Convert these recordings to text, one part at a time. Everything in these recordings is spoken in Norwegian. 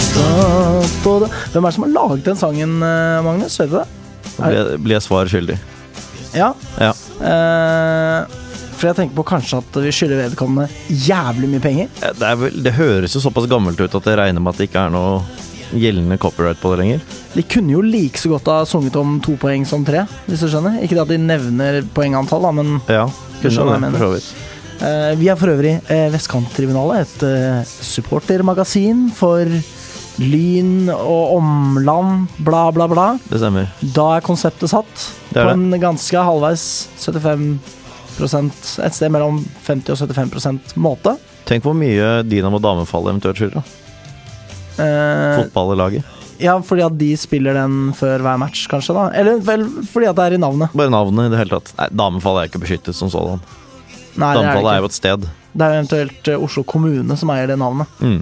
sant og det. Hvem er det som har laget den sangen, eh, Magnus? Vet du det? Da blir- blir jeg svar skyldig. Ja. Ja. Eh, for jeg tenker på kanskje at vi skylder vedkommende jævlig mye penger. Eh, Det, er vel, det høres jo såpass gammelt ut at jeg regner med at det ikke er noe gjeldende copyright på det lenger. De kunne jo like så godt ha sunget om to poeng som tre, hvis du skjønner. Ikke det at de nevner poengantall, da, men Ja, Skjønner hva jeg mener. for så vidt. Eh, Vi er for øvrig eh, Vestkanttribunalet, et eh, supportermagasin for Lyn og omland, bla, bla, bla. Det stemmer. Da er konseptet satt Det er på det. en ganske halvveis 75 Et sted mellom 50 og 75 måte. Tenk hvor mye Dinamo Damefall eventuelt skylder. da. Eh, Fotball i laget. ja, fordi at de spiller den før hver match, kanskje. da Eller vel fordi at det er i navnet. Bare navnet i det hele tatt. Nei, Damefall er ikke beskyttet som sådan. Nei, det er, Damefall det, er ikke. jo et sted. det er jo eventuelt eh, Oslo kommune som eier det navnet. Mm.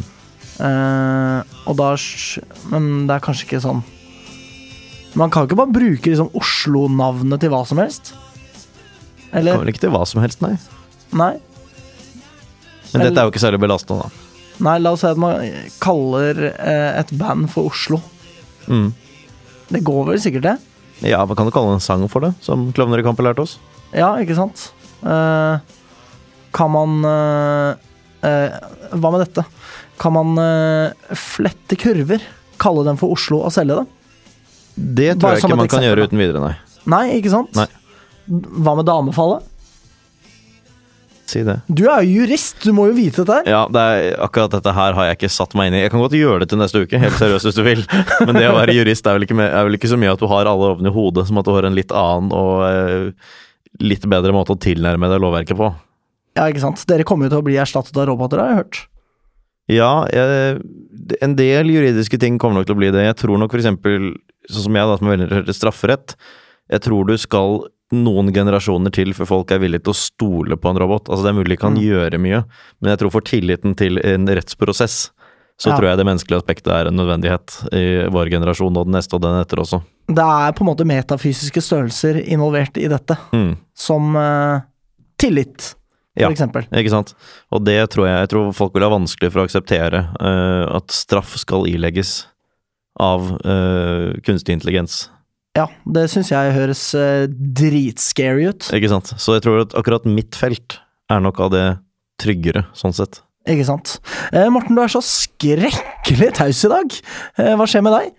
Eh, og da sk- Men det er kanskje ikke sånn Man kan ikke bare bruke liksom Oslo-navnet til hva som helst. Kommer Eller? vel ikke til hva som helst, nei. Nei. Men dette er jo ikke særlig belastende, da. Nei, la oss si at man kaller eh, et band for Oslo. Mm. Det går vel sikkert, det? Ja, man kan jo kalle det en sang for det, som Klovner i kamp har lært oss. Ja, ikke sant? Eh, kan man eh, eh, Hva med dette? Kan man eh, flette kurver? Kalle dem for Oslo og selge det? Det tror Bare jeg som ikke et man kan eksempel, gjøre da. uten videre, nei. Nei, ikke sant? Nei. Hva med damefallet? Si det. Du er jo jurist, du må jo vite dette her. Ja, det er, akkurat dette her har jeg ikke satt meg inn i. Jeg kan godt gjøre det til neste uke, helt seriøst hvis du vil. Men det å være jurist er vel ikke, mer- er vel ikke så mye at du har alle ovnene i hodet, som at du har en litt annen og eh, litt bedre måte å tilnærme deg lovverket på. Ja, ikke sant. Dere kommer jo til å bli erstattet av roboter, har jeg hørt. Ja, jeg, en del juridiske ting kommer nok til å bli det. Jeg tror nok for eksempel, sånn som jeg da, som er veldig interessert i strafferett, jeg tror du skal noen generasjoner til før folk er villige til å stole på en robot. Altså det er mulig de kan gjøre mye, men jeg tror for tilliten til en rettsprosess, Ja. så tror jeg det menneskelige aspektet er en nødvendighet i vår generasjon og den neste og den etter også. Det er på en måte metafysiske størrelser involvert i dette, Mm. som eh, tillit, for Ja. eksempel. Ikke sant? Og det tror jeg, jeg tror folk vil ha vanskelig for å akseptere eh, at straff skal ilegges av eh, kunstig intelligens. Ja, det syns jeg høres eh, dritscary ut, Ikke sant. Så jeg tror at akkurat mitt felt er nok av det tryggere, sånn sett. ikke sant. Eh, Morten, du er så skrekkelig taus i dag. Eh, hva skjer med deg?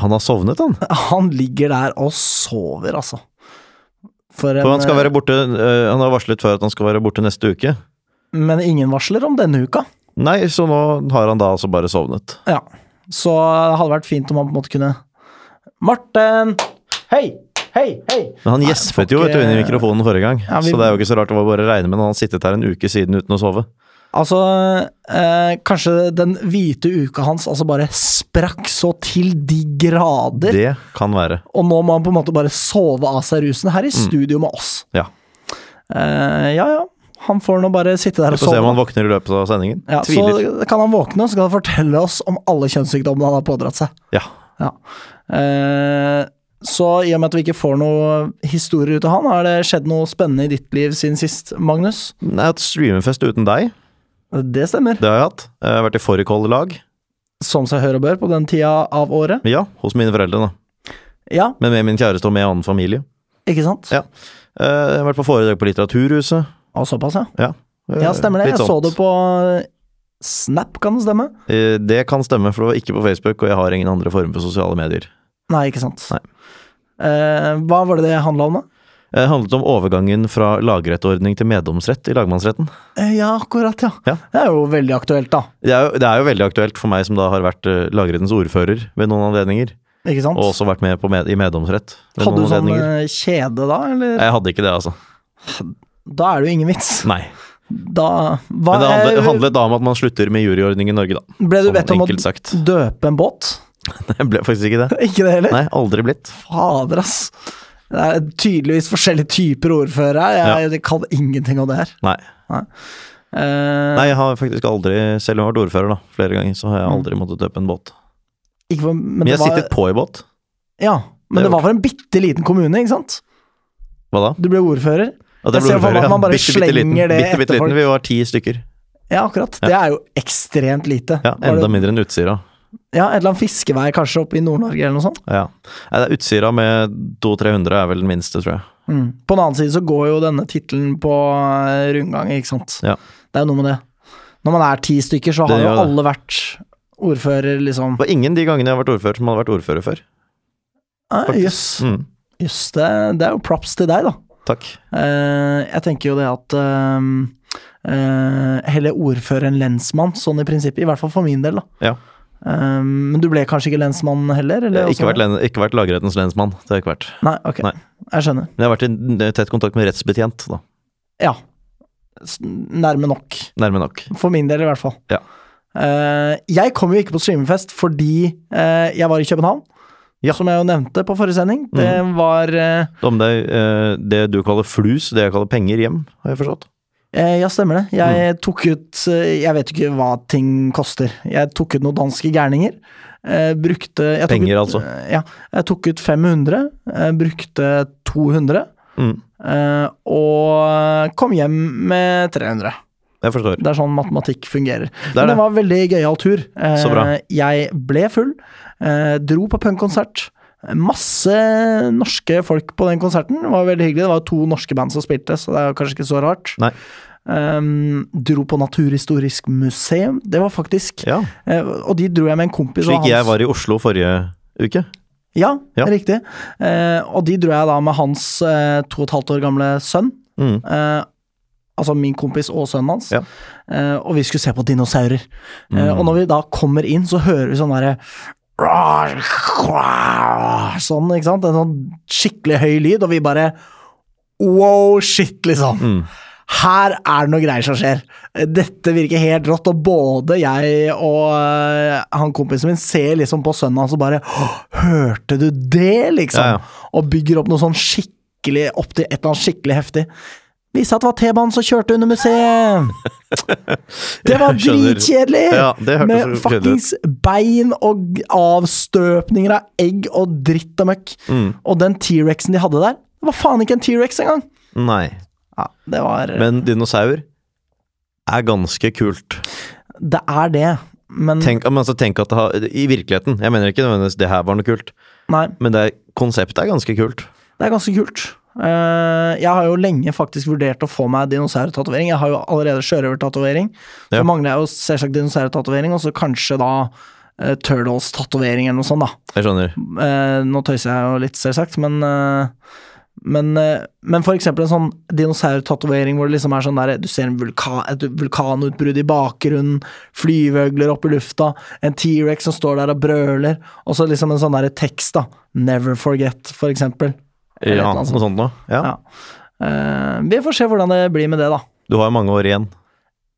Han har sovnet, han. Han ligger der og sover, altså. For en, For han skal eh, være borte eh, Han har varslet før at han skal være borte neste uke. eh, Men ingen varsler om denne uka. Nei, så nå har han da altså bare sovnet. Ja. Så det hadde vært fint om han på en måte kunne Morten! Hei! Hei, hei! Men han Nei, gjespet får jo vet du, ikke- inn i mikrofonen forrige gang, Ja, vi- så det er jo ikke så rart det var bare å regne med. Han har sittet her en uke siden uten å sove. Altså, eh, kanskje den hvite uka hans altså bare sprakk så til de grader, Det kan være. og nå må han på en måte bare sove av seg rusen her i studio med oss. Mm. Ja. Eh, ja, ja. Han får nå bare sitte der Vi og får se om sove. han våkner i løpet av sendingen. Ja, Tviler. så kan han våkne, og så kan han fortelle oss om alle kjønnssykdommene han har pådratt seg. Ja. Ja. Eh, så i og med at vi ikke får noe historie ut av han, har det skjedd noe spennende i ditt liv siden sist, Magnus? Jeg har hatt streamerfest uten deg. Det stemmer. Sånn Det har jeg hatt. Jeg har vært i fårikål-lag. Som seg hør og bør på den tida av året. Ja, hos mine foreldre, da. Ja, Men med min kjæreste og med annen familie. ikke sant? Ja. Eh, Jeg har vært på foredrag på Litteraturhuset. Og såpass, ja. Ja, Eh, Ja, stemmer det. litt Jeg så sånt. det på Snap, kan det stemme? Eh, Det kan stemme, for det var ikke på Facebook, og jeg har ingen andre former for sosiale medier. Nei, ikke sant. Nei. Eh, hva var det det handla om, da? Det Eh, handlet om overgangen fra lagrettordning til meddomsrett i lagmannsretten. Eh, ja, akkurat, ja. Ja. Det er jo veldig aktuelt, da. Det er, jo, det er jo veldig aktuelt for meg som da har vært eh, lagrettens ordfører ved noen anledninger, Ikke sant? og også vært med på med, i meddomsrett ved Hadde du noen sånn anledninger. eh, kjede da, eller? Jeg hadde ikke det, altså. Da er det jo ingen vits. Nei. Da hva, Men det handlet, eh, handlet da om at man slutter med juryordning i Norge, da. Ble du Sånn bedt om å enkelt sagt. døpe en båt? Jeg ble faktisk ikke det. Ikke det heller? Nei, aldri blitt. Fader, ass. Det er tydeligvis forskjellige typer ordførere her. Jeg, jeg kan ingenting om det her. Nei. Eh, Nei, jeg har faktisk aldri, selv om jeg har vært ordfører da, flere ganger, så har jeg aldri måttet døpe en båt. ikke for, men, Mm. Men det jeg har var, sittet på i båt. ja, Det men det gjorde var for en bitte liten kommune, ikke sant? Hva da? Du ble ordfører. Jeg At det ble ser for meg ordfører, at man ja. bare Bitte, bitte slenger liten, det bitte, bitte etter liten. folk. Vi var ti stykker. Ja, akkurat. Det er jo ekstremt lite. Ja, Var Enda det, mindre enn Utsira. Ja, et eller annet fiskevær kanskje oppe i Nord-Norge eller noe sånt. Ja. Nei, det er Utsira med 200-300 er vel den minste, tror jeg. På den annen side så går jo denne tittelen på eh, rundganger, ikke sant. Ja. Det er jo noe med det. Når man er ti stykker, så har Det jo gjør det. alle vært ordfører, liksom. Det var ingen de gangene jeg har vært ordfører som hadde vært ordfører før. Ah, faktisk. Jøss, Mm. jøss, det, det er jo props til deg, da. Takk. Eh, jeg tenker jo det at eh, eh, Heller ordfører enn lensmann, sånn i prinsippet. I hvert fall for min del, da. Ja. Eh, men du ble kanskje ikke lensmann heller? Jeg Eller har ikke vært, len ikke vært lagrettens lensmann, det har jeg ikke vært. Nei, ok. Nei. Jeg skjønner. Men jeg har vært i n- tett kontakt med rettsbetjent, da. Ja. S- Nærme nok. Nærme nok. For min del, i hvert fall. Ja. Eh, jeg kom jo ikke på streamingfest fordi eh, jeg var i København. Ja. Mhm. Som jeg jo nevnte på forrige sending. Det var eh, Om det, eh, det du kaller flus, det jeg kaller penger hjem, har jeg forstått. eh, Ja, stemmer det. Jeg Mhm. tok ut eh, Jeg vet ikke hva ting koster. Jeg tok ut noen danske gærninger. eh, brukte jeg tok Penger, ut, altså. eh, Ja. Jeg tok ut 500. eh, brukte 200. Mm. eh, og eh, kom hjem med 300. Jeg forstår. Det er sånn matematikk fungerer. Det Men er det. det var en veldig gøyal tur. Eh, Så bra. Jeg ble full, eh, dro på punkkonsert. Masse norske folk på den konserten. Det var veldig hyggelig. Det var to norske band som spilte, så det er jo kanskje ikke så rart. Nei. Ehm, dro på Naturhistorisk museum. Det var faktisk Ja. eh, Og de dro jeg med en kompis. og Slik hans- jeg var i Oslo forrige uke. Ja, Ja. riktig. Eh, og de dro jeg da med hans eh, to og et halvt år gamle sønn. Mm. Eh, altså min kompis og sønnen hans. Ja. Eh, og vi skulle se på dinosaurer. Eh, og når vi da kommer inn, så hører vi sånn derre Sånn, ikke sant? En sånn skikkelig høy lyd, og vi bare Wow, shit, liksom. Mm. Her er det noe greier som skjer. Dette virker helt rått, og både jeg og eh, han kompisen min ser liksom på sønnen hans og bare «Åh, Hørte du det, liksom? Ja, ja. Og bygger opp noe sånn skikkelig opp til et eller annet skikkelig heftig. Vise at det var T-banen som kjørte under museet! Det var Jeg skjønner. dritkjedelig! Ja, det hørtes Med så kjedelig ut. fuckings bein og avstøpninger av egg og dritt og møkk. Mm. Og den T-rexen de hadde der, det var faen ikke en T-rex engang! Nei. Ja, det var Men dinosaur er ganske kult. Det er det, men Tenk, men altså, tenk at det har I virkeligheten. Jeg mener ikke nødvendigvis det her var noe kult, Nei, men det er, konseptet er ganske kult. det er ganske kult. Eh, jeg har jo lenge faktisk vurdert å få meg dinosaurtatovering. Jeg har jo allerede sjørøvertatovering. Så Ja. mangler jeg jo selvsagt dinosaurtatovering, og så kanskje da eh, Turtles-tatovering eller noe sånt, da. Jeg skjønner. Eh, nå tøyser jeg jo litt, selvsagt, men eh, men, eh, men for eksempel en sånn dinosaurtatovering hvor det liksom er sånn der Du ser en vulkan, et vulkanutbrudd i bakgrunnen, flyveøgler opp i lufta, en T-rex som står der og brøler, og så liksom en sånn der tekst, da. Never forget, for eksempel. Eller et Ja, eller noe annet sånt noe. Ja. Ja. Eh, vi får se hvordan det blir med det, da. Du har jo mange år igjen.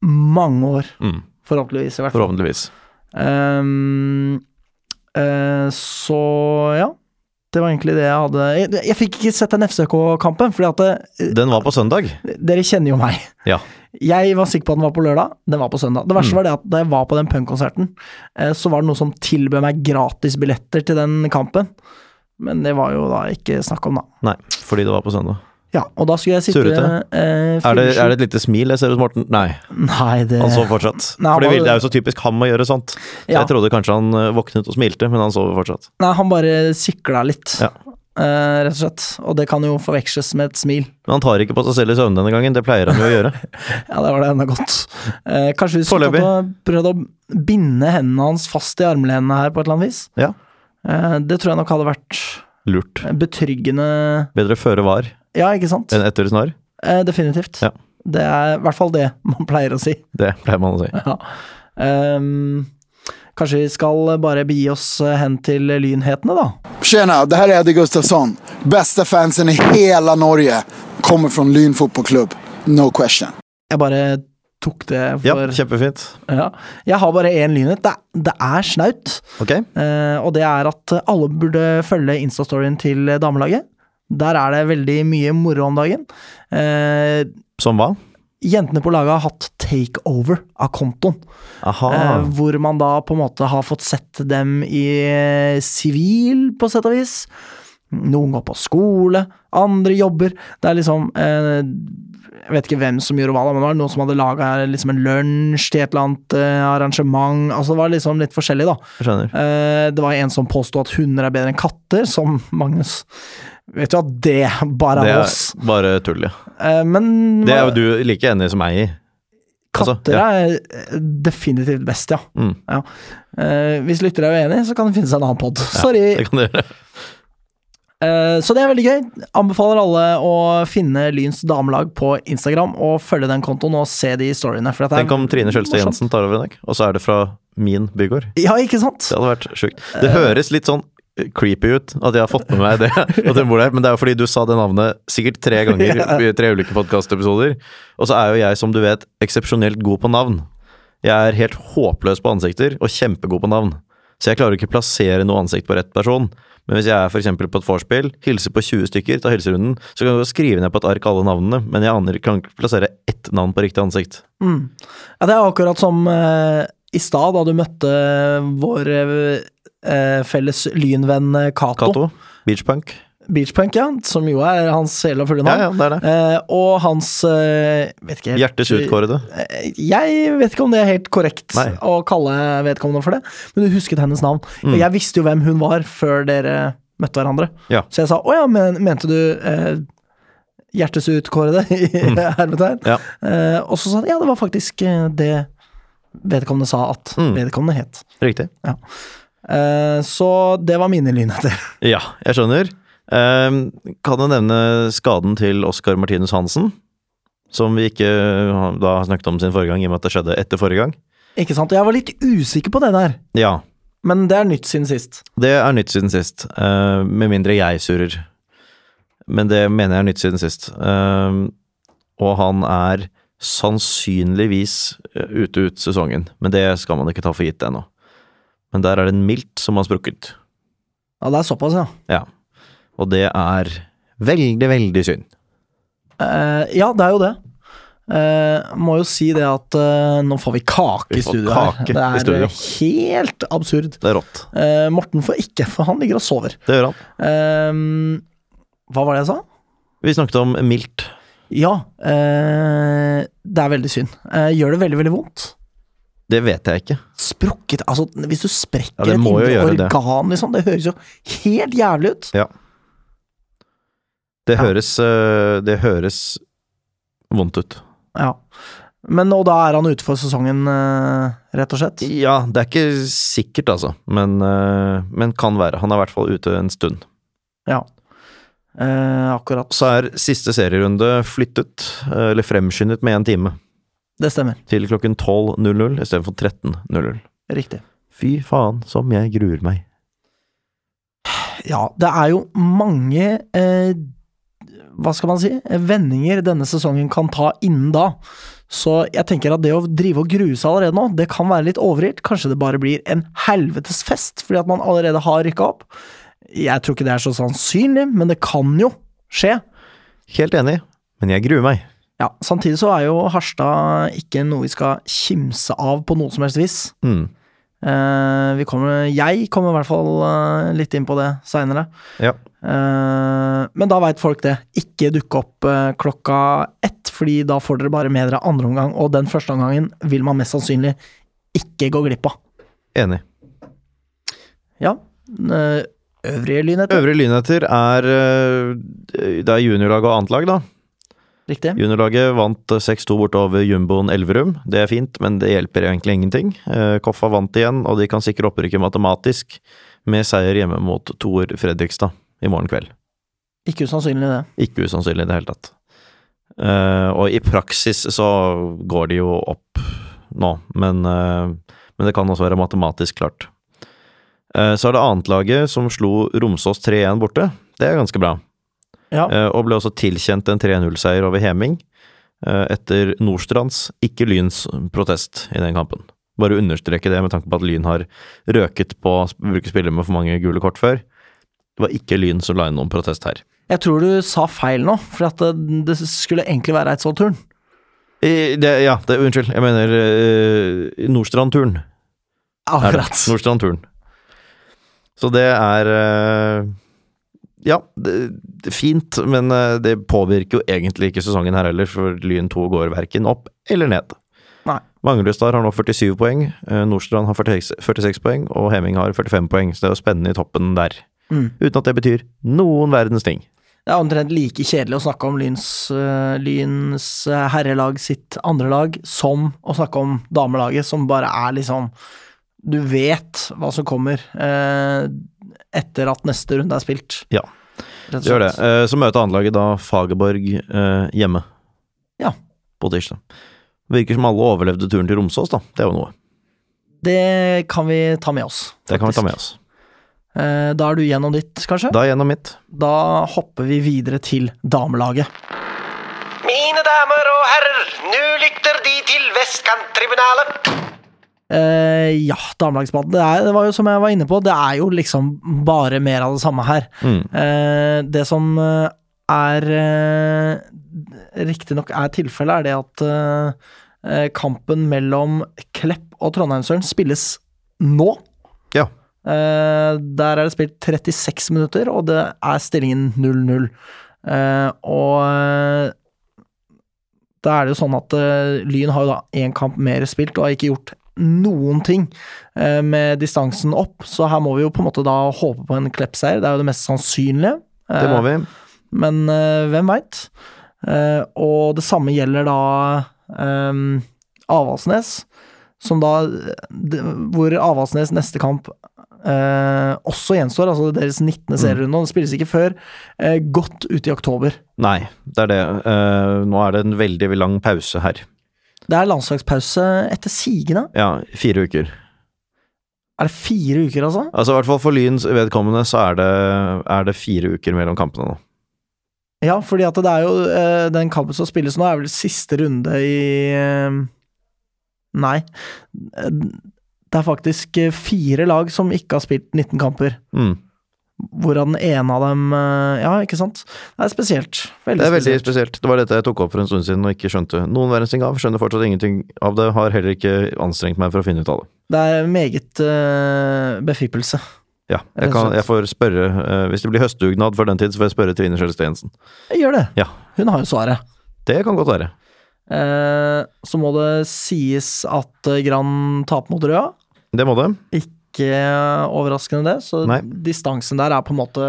Mange år, Mm. forhåpentligvis, i hvert fall. Forhåpentligvis. Ehm, eh, så ja. Det var egentlig det jeg hadde Jeg, jeg fikk ikke sett den FCK-kampen, fordi at det, Den var på søndag. dere kjenner jo meg. Ja. Mm. Jeg var sikker på at den var på lørdag, den var på søndag. Det verste var det at da jeg var på den punkkonserten, eh, så var det noen som tilbød meg gratis billetter til den kampen. Men det var jo da ikke snakk om, da. Nei, fordi det var på søndag. Ja, og da skulle jeg sitte Surrete? eh, Er det, er fyllesjuk- det et lite smil jeg ser hos Morten? Nei, Nei, det han sover fortsatt. Eh, Nei, han Fordi var- det er jo så typisk ham å gjøre sånt. Så Ja. jeg trodde kanskje han eh, våknet og smilte, men han sover fortsatt. Nei, han bare sikla litt, Ja. eh, rett og slett. Og det kan jo forveksles med et smil. Men han tar ikke på seg selv i søvne denne gangen, det pleier han jo å gjøre. Ja, det var det enda godt. Eh, kanskje vi skulle Foreløpig. tatt og prøvd å binde hendene hans fast i armlenene her på et eller annet vis. Ja. Eh, det tror jeg nok hadde vært Lurt. betryggende Bedre føre var Ja, ikke sant? enn etter snar. Eh, definitivt. Ja. Det er i hvert fall det man pleier å si. Det pleier man å si. Ja. Ehm, kanskje vi skal bare begi oss eh, hen til lynhetene, da? Tjena, det här är Eddie Gustafsson. Bästa fansen i hela Norge. Kommer från Lyn fotbollsklubb. No question. Jeg bare tok det Ja, for kjempefint. Ja. Jeg har bare én lynhet. Det, er- det er snaut. Ok. Eh, og det er at alle burde følge Insta-storyen til damelaget. Der er det veldig mye moro om dagen. Eh, Som hva? jentene på laget har hatt takeover av kontoen. Aha. Eh, hvor man da på en måte har fått sett dem i eh, sivil, på sett og vis. Noen går på skole, andre jobber. Det er liksom eh, Jeg vet ikke hvem som gjorde hva, da, men det var noen som hadde laga liksom en lunsj til et eller annet eh, arrangement. Altså Det var liksom litt forskjellig, da. Jeg skjønner. Eh, det var en som påsto at hunder er bedre enn katter, som Magnus. Vet du at det bare Det er er oss? bare tull, ja. Eh, men Det er jo du like enig som meg i. altså, katter ja. er eh, definitivt best, ja. Mm. ja. Eh, hvis lytter er uenig, så kan det finnes en annen pod. Sorry. Det kan du gjøre. Eh, Så det er veldig gøy. Anbefaler alle å finne Lyns damelag på Instagram og følge den kontoen og se de storyene. For dette er Tenk om Trine Kjølstad morsomt. Jensen tar over en dag, og så er det fra min bygård. Ja, ikke sant? Det hadde vært sjukt. Det høres litt sånn eh, creepy ut at jeg har fått med meg det, at hun bor der, men det er jo fordi du sa det navnet sikkert tre ganger i tre ulike podkastepisoder. Og så er jo jeg, som du vet, eksepsjonelt god på navn. Jeg er helt håpløs på ansikter, og kjempegod på navn. Så jeg klarer ikke plassere noe ansikt på rett person. Men hvis jeg er for eksempel på et vorspiel, hilser på 20 stykker, tar hilserunden, så kan jeg jo skrive ned på et ark alle navnene, men jeg aner kan ikke plassere ett navn på riktig ansikt. Mm. Ja, det er akkurat som eh, i stad, da du møtte vår eh, felles lynvenn eh, Cato. Cato, beachpunk. Beachpunk, ja, som jo er hans hele og fulle navn. Ja, ja, det er det. Eh, og hans eh, vet ikke helt- Hjertes utkårede. Eh, Jeg vet ikke om det er helt korrekt Nei. å kalle vedkommende for det, men du husket hennes navn. Mm. Og jeg visste jo hvem hun var før dere møtte hverandre. Ja. Så jeg sa å ja, men mente du eh, hjertes utkårede? i hermetegn. Mm. Ja. Eh, og så sa han ja, det var faktisk eh, det vedkommende sa at Mm. vedkommende het. Riktig. Ja. Eh, så det var mine lynheter. Ja, jeg skjønner. Ehm, kan jeg nevne skaden til Oskar Martinus Hansen? Som vi ikke eh, da har snakket om sin forrige gang, i og med at det skjedde etter forrige gang. Ikke sant? Og jeg var litt usikker på det der, Ja, men det er nytt siden sist. det er nytt siden sist. eh, med mindre jeg surrer. Men det mener jeg er nytt siden sist. Ehm, og han er sannsynligvis eh, ute ut sesongen. Men det skal man ikke ta for gitt ennå. Men der er det en milt som har sprukket. Ja, det er såpass, ja. Ja. Og det er veldig, veldig synd. Eh, ja, det er jo det. Eh, må jo si det at eh, nå får vi kake Vi i får studio kake her. Det i er studio. eh, helt absurd. Det er rått. Eh, Morten får ikke, for han ligger og sover. Det gjør han. Eh, hva var det jeg sa? Vi snakket om mildt. Ja, eh, det er veldig synd. Eh, gjør det veldig, veldig vondt. Det vet jeg ikke. Sprukket Altså, hvis du Ja, sprekker det et må jo indre gjøre det. organ, liksom. Det høres jo helt jævlig ut. Det, Ja. høres, øh, det høres vondt ut. Ja. Men og da er han ute for sesongen, eh, rett og slett. Ja, det er ikke sikkert, altså. Men, øh, men kan være. Han er i hvert fall ute en stund. Ja. Eh, akkurat. Så er siste serierunde flyttet, øh, eller fremskyndet med én time, Det stemmer. til klokken 12.00 istedenfor 13.00. Riktig. Fy faen, som jeg gruer meg. Ja, det er jo mange eh, Hva skal man si? Vendinger denne sesongen kan ta innen da. Så jeg tenker at det å drive og grue seg allerede nå, det kan være litt overilt. Kanskje det bare blir en helvetes fest fordi at man allerede har rykka opp. Jeg tror ikke det er så sannsynlig, men det kan jo skje. Helt enig, men jeg gruer meg. Ja, Samtidig så er jo Harstad ikke noe vi skal kimse av på noe som helst vis. Mm. Eh, vi kommer, jeg kommer i hvert fall eh, litt inn på det seinere. Ja. Eh, men da veit folk det. Ikke dukke opp eh, klokka ett, fordi da får dere bare med dere andre omgang, og den første omgangen vil man mest sannsynlig ikke gå glipp av. Enig. Ja. eh, øvrige lynheter. Øvrige lynheter er øh, Det er juniorlag og annet lag, da. Riktig. Juniorlaget vant eh, 6-2 bortover jumboen Elverum. Det er fint, men det hjelper egentlig ingenting. Eh, Koffa vant igjen, og de kan sikre opprykket matematisk med seier hjemme mot toer Fredrikstad i morgen kveld. Ikke usannsynlig, det. Ikke usannsynlig i det hele tatt. Eh, og i praksis så går de jo opp nå, men, eh, men det kan også være matematisk klart. Eh, så er det annetlaget som slo Romsås 3-1 borte. Det er ganske bra. Ja. Eh, Og ble også tilkjent en 3-0-seier over Heming eh, etter Nordstrands, ikke Lyns, protest i den kampen. Bare understreke det med tanke på at Lyn har røket på å bruke spillere med for mange gule kort før. Det var ikke Lyn som la inn noen protest her. Jeg tror du sa feil nå, for at eh, det, det skulle egentlig være Eidsvoll-turn. I, det, ja, det, unnskyld, jeg mener eh, Nordstrand-turen. er det. Akkurat. Nordstrand-turen. Så det er eh, ja, det, det er fint, men eh, det påvirker jo egentlig ikke sesongen her heller, for Lyn 2 går verken opp eller ned. Nei. Manglestad har nå 47 poeng, eh, Nordstrand har 46, 46 poeng, og Hemming har 45 poeng, så det er jo spennende i toppen der. Mm. Uten at det betyr noen verdens ting. Det er omtrent like kjedelig å snakke om Lyns, øh, lyns øh, herrelag sitt andre lag som å snakke om damelaget, som bare er liksom Du vet hva som kommer øh, etter at neste runde er spilt. Ja, rett og Det gjør det. slett. Eh, Så møter anlaget da Fagerborg eh, hjemme. Ja. På tirsdag. Virker som alle overlevde turen til Romsås, da. Det er jo noe. Det kan vi ta med oss. Det kan vi faktisk. ta med oss. Eh, Da er du gjennom ditt, kanskje? Da gjennom mitt. Da hopper vi videre til damelaget. Mine damer og herrer, nå lytter De til Vestkanttribunalet. Eh, ja, damelagsdebatten. Det, er- det var jo som jeg var inne på, det er jo liksom bare mer av det samme her. Mm. Eh, det som eh, er eh, riktignok er tilfellet, er det at eh, eh, kampen mellom Klepp og Trondheimsøren spilles nå. Ja. Eh, der er det spilt 36 minutter, og det er stillingen 0-0. Eh, og eh, da er det jo sånn at eh, Lyn har jo da én kamp mer spilt og har ikke gjort noen ting eh, med distansen opp, så her må vi jo på en måte da håpe på en Klepp-seier. Det er jo det mest sannsynlige. Det må vi. Men eh, hvem veit? Eh, og det samme gjelder da eh, Avaldsnes, som da det, Hvor Avaldsnes neste kamp eh, også gjenstår, altså deres 19. serierunde, og det spilles ikke før eh, godt ute i oktober. Nei, det er det. Eh, nå er det en veldig lang pause her. Det er landslagspause etter sigende. Ja, fire uker. Er det fire uker, altså? Altså i hvert fall for Lyns vedkommende så er det, er det fire uker mellom kampene nå. Ja, fordi at det er jo eh, Den kampen som spilles nå, er vel siste runde i eh, Nei. Eh, Det er faktisk eh, fire lag som ikke har spilt 19 kamper. Mm. Hvorav den ene av dem eh, Ja, ikke sant? Det er spesielt. Veldig, Det er veldig spesielt. spesielt. Det var dette jeg tok opp for en stund siden og ikke skjønte noen verdens ting av. Skjønner fortsatt ingenting av det. Har heller ikke anstrengt meg for å finne ut av det. Det er meget eh, befippelse. Ja, Rett jeg, og kan, slett. jeg får spørre eh, Hvis det blir høstdugnad for den tid, så får jeg spørre Trine Skjelstad Jensen. Jeg gjør det. Ja. Hun har jo svaret. Det kan godt være. Eh, så må det sies at eh, Gran taper mot Røa. Det må det. Ikke overraskende det, så Nei. distansen der er på en måte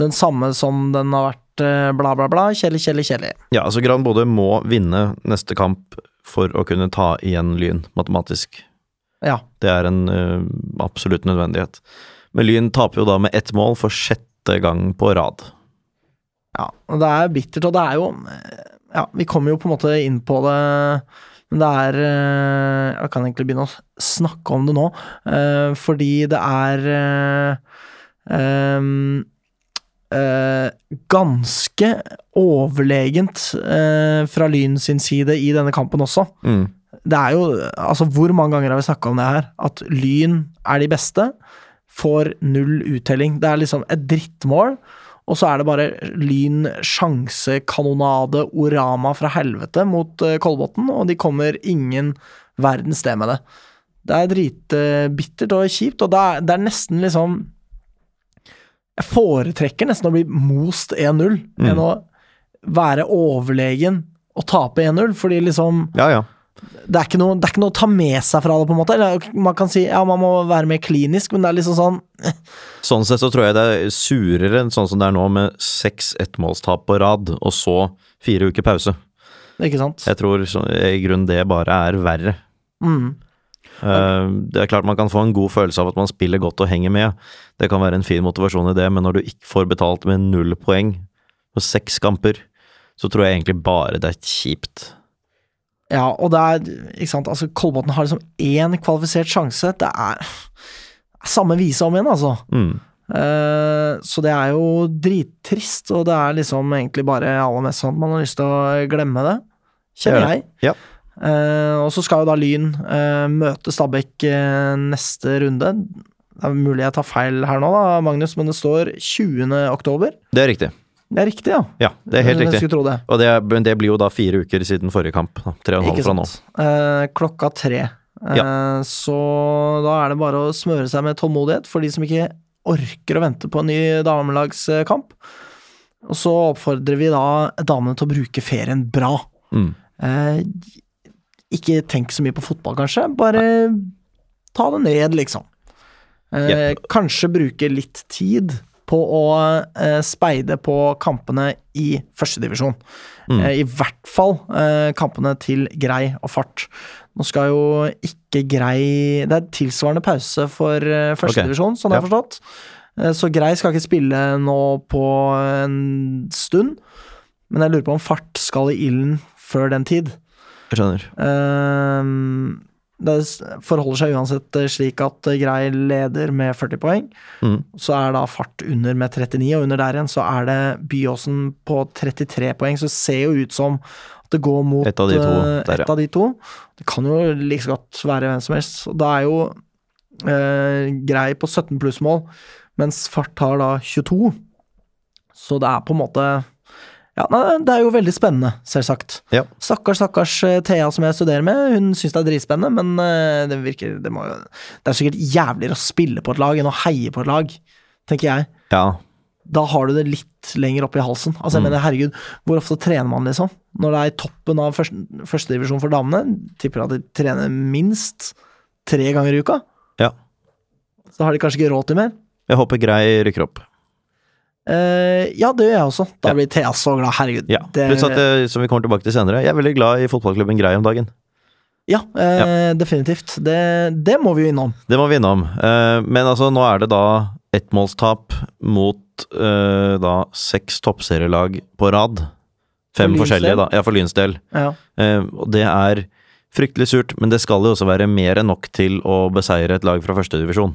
den samme som den har vært eh, bla, bla, bla, kjedelig, kjedelig, kjedelig. Ja, altså Gran Bodø må vinne neste kamp for å kunne ta igjen Lyn, matematisk. Ja. Det er en eh, absolutt nødvendighet. Men Lyn taper jo da med ett mål for sjette gang på rad. ja. og Det er bittert, og det er jo eh, Ja, vi kommer jo på en måte inn på det, men det er eh, Jeg kan egentlig begynne å snakke om det nå, eh, fordi det er eh, em, eh, ganske overlegent eh, fra Lyn sin side i denne kampen også. Mm. det er jo Altså, hvor mange ganger har vi snakka om det her? At Lyn er de beste, får null uttelling. Det er liksom et drittmål, og så er det bare Lyn sjanse, kanonade, orama fra helvete mot eh, Kolbotn, og de kommer ingen verdens sted med det. Det er dritbittert og kjipt, og det er, det er nesten liksom Jeg foretrekker nesten å bli most 1-0 enn å være overlegen og tape 1-0, fordi liksom Ja, ja. det er, ikke noe, det er ikke noe å ta med seg fra det, på en måte. Eller, man kan si ja, man må være mer klinisk, men det er liksom sånn Sånn sett så tror jeg det er surere enn sånn som det er nå, med seks ettmålstap på rad, og så fire uker pause. Ikke sant? Jeg tror så, i grunnen det bare er verre. Mm. Eh, Det er klart man kan få en god følelse av at man spiller godt og henger med. Det kan være en fin motivasjon i det, men når du ikke får betalt med null poeng på seks kamper, så tror jeg egentlig bare det er kjipt. Ja, og det er Ikke sant, altså, Kolbotn har liksom én kvalifisert sjanse. Det er samme vise om igjen, altså. Mm. Eh, så det er jo drittrist, og det er liksom egentlig bare aller mest sånn at man har lyst til å glemme det. Kjenner jeg. Ja. Eh, og så skal jo da Lyn eh, møte Stabæk eh, neste runde. Det er mulig jeg tar feil her nå, da, Magnus, men det står 20. oktober. Det er riktig. Det er riktig, ja. Ja, det er helt Jeg riktig. Eh, skulle tro det. Og det, er, men det blir jo da fire uker siden forrige kamp. Da. Tre og en halv Ikke fra nå. sant. Eh, klokka tre. Eh, Så da er det bare å smøre seg med tålmodighet for de som ikke orker å vente på en ny damelagskamp. Og så oppfordrer vi da damene til å bruke ferien bra. Mm. Eh, ikke tenk så mye på fotball, kanskje. Bare ta det ned, liksom. Eh, Jepp. Kanskje bruke litt tid på å eh, speide på kampene i førstedivisjon. Mm. Eh, I hvert fall eh, kampene til grei og fart. Nå skal jo ikke grei Det er tilsvarende pause for eh, førstedivisjon, sånn jeg har Ja. forstått. Eh, så grei skal ikke spille nå på en stund. Men jeg lurer på om fart skal i ilden før den tid. Jeg skjønner. Ehm, det s- forholder seg uansett eh, slik at eh, Grei leder med 40 poeng. Mm. Så er da fart under med 39, og under der igjen så er det Byåsen på 33 poeng. Så det ser jo ut som at det går mot Et av de to eh, et der, ja. av de to. Det kan jo like så godt være hvem som helst. Og Da er jo eh, Grei på 17 plussmål, mens fart har da 22. Så det er på en måte ja, nei, Det er jo veldig spennende, selvsagt. Ja. Stakkars, stakkars eh, Thea som jeg studerer med. Hun syns det er dritspennende, men eh, det virker det, må, jo- det er sikkert jævligere å spille på et lag enn å heie på et lag, tenker jeg. Ja. Da har du det litt lenger opp i halsen. Altså, Mm. jeg mener, herregud, hvor ofte trener man, liksom? Når det er i toppen av først- førstedivisjon for damene, tipper jeg at de trener minst tre ganger i uka. ja. Så har de kanskje ikke råd til mer. Jeg håper Grei rykker opp. Eh, ja, det gjør jeg også. Da Ja. blir Thea så glad. Herregud. Ja. det- Pluss at, eh, som vi kommer tilbake til senere, jeg er veldig glad i fotballklubben Grei om dagen. Ja, eh, definitivt. Det, det må vi jo innom. Det må vi innom. Eh, Men altså, nå er det da ettmålstap mot eh, da seks toppserielag på rad. Fem For Lyns forskjellige, del? da. Ja, for Lyns del. Ja. Eh, Og det er fryktelig surt, men det skal jo også være mer enn nok til å beseire et lag fra førstedivisjon.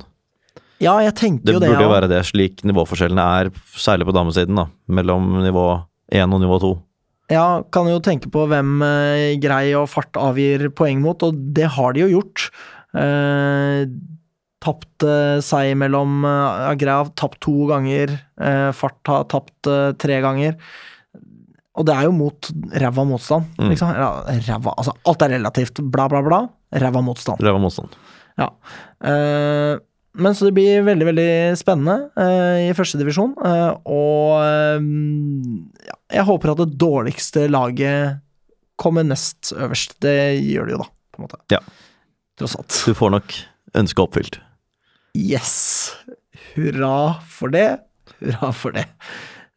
Ja, jeg tenker Det jo det. burde ja. jo være det, slik nivåforskjellene er, særlig på damesiden, da. Mellom nivå 1 og nivå 2. ja, kan jo tenke på hvem eh, grei og fart avgir poeng mot, og det har de jo gjort. Eh, tapt eh, seg mellom eh, ja, Grei har tapt to ganger, eh, fart har tapt eh, tre ganger. Og det er jo mot ræva motstand, Mm. liksom. Ja, Ræva Altså, alt er relativt. Bla, bla, bla. Ræva motstand. Det var motstand. Ja. Eh, men så det blir veldig, veldig spennende eh, i førstedivisjon. Uh, og eh, ja, jeg håper at det dårligste laget kommer nest øverst. Det gjør det jo, da, på en måte. Ja. Tross alt. Du får nok ønsket oppfylt. Yes! Hurra for det. Hurra for det.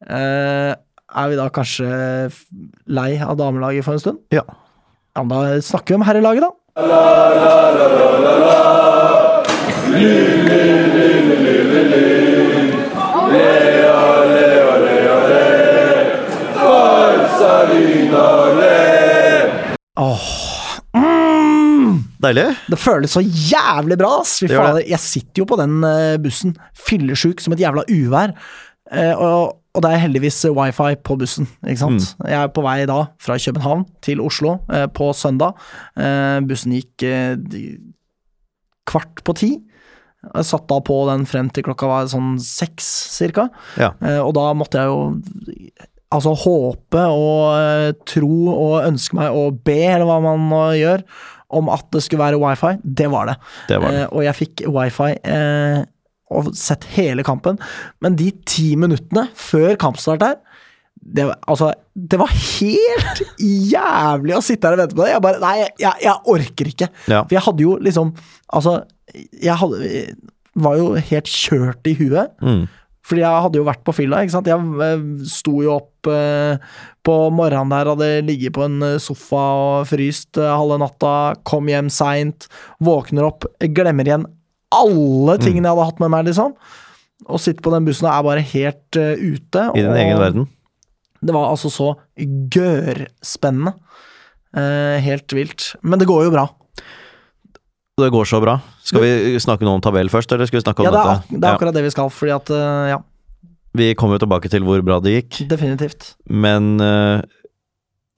Eh, er vi da kanskje f- lei av damelaget for en stund? Ja. Ja, men da snakker vi om herrelaget, da. mm. Deilig. Det føles så jævlig bra, ass! Fy Det gjør fader, jeg sitter jo på den eh, bussen, fyllesjuk som et jævla uvær. Eh, og, og det er heldigvis eh, wifi på bussen, ikke sant. Mm. Jeg er på vei da fra København til Oslo eh, på søndag. Eh, bussen gikk eh, de- kvart på ti. Jeg satt da på den frem til klokka var sånn seks, cirka. Ja. Eh, og da måtte jeg jo altså håpe og eh, tro og ønske meg og be, eller hva man nå gjør, om at det skulle være wifi. Det var det. Det var det. Eh, og jeg fikk wifi eh, og sett hele kampen. Men de ti minuttene før kampstart der det, var- altså, det var helt jævlig å sitte her og vente på det. Jeg bare Nei, jeg, jeg orker ikke. Ja. For jeg hadde jo liksom Altså, jeg hadde jeg var jo helt kjørt i huet. Mm. Fordi jeg hadde jo vært på fylla, ikke sant. Jeg eh, sto jo opp eh, på morgenen der, hadde ligget på en eh, sofa og fryst eh, halve natta, kom hjem seint, våkner opp, glemmer igjen Mm. alle tingene jeg hadde hatt med meg, liksom. Og sitter på den bussen og er bare helt eh, ute. I din og egen verden. Det var altså så gørrspennende. Eh, helt vilt. Men det går jo bra. Det går så bra. Skal vi snakke noe om tabell først, eller skal vi snakke om Ja, det er, ak dette? det er akkurat det vi skal, fordi at eh, Ja, Ja. Vi kommer jo tilbake til hvor bra det gikk, definitivt. men eh,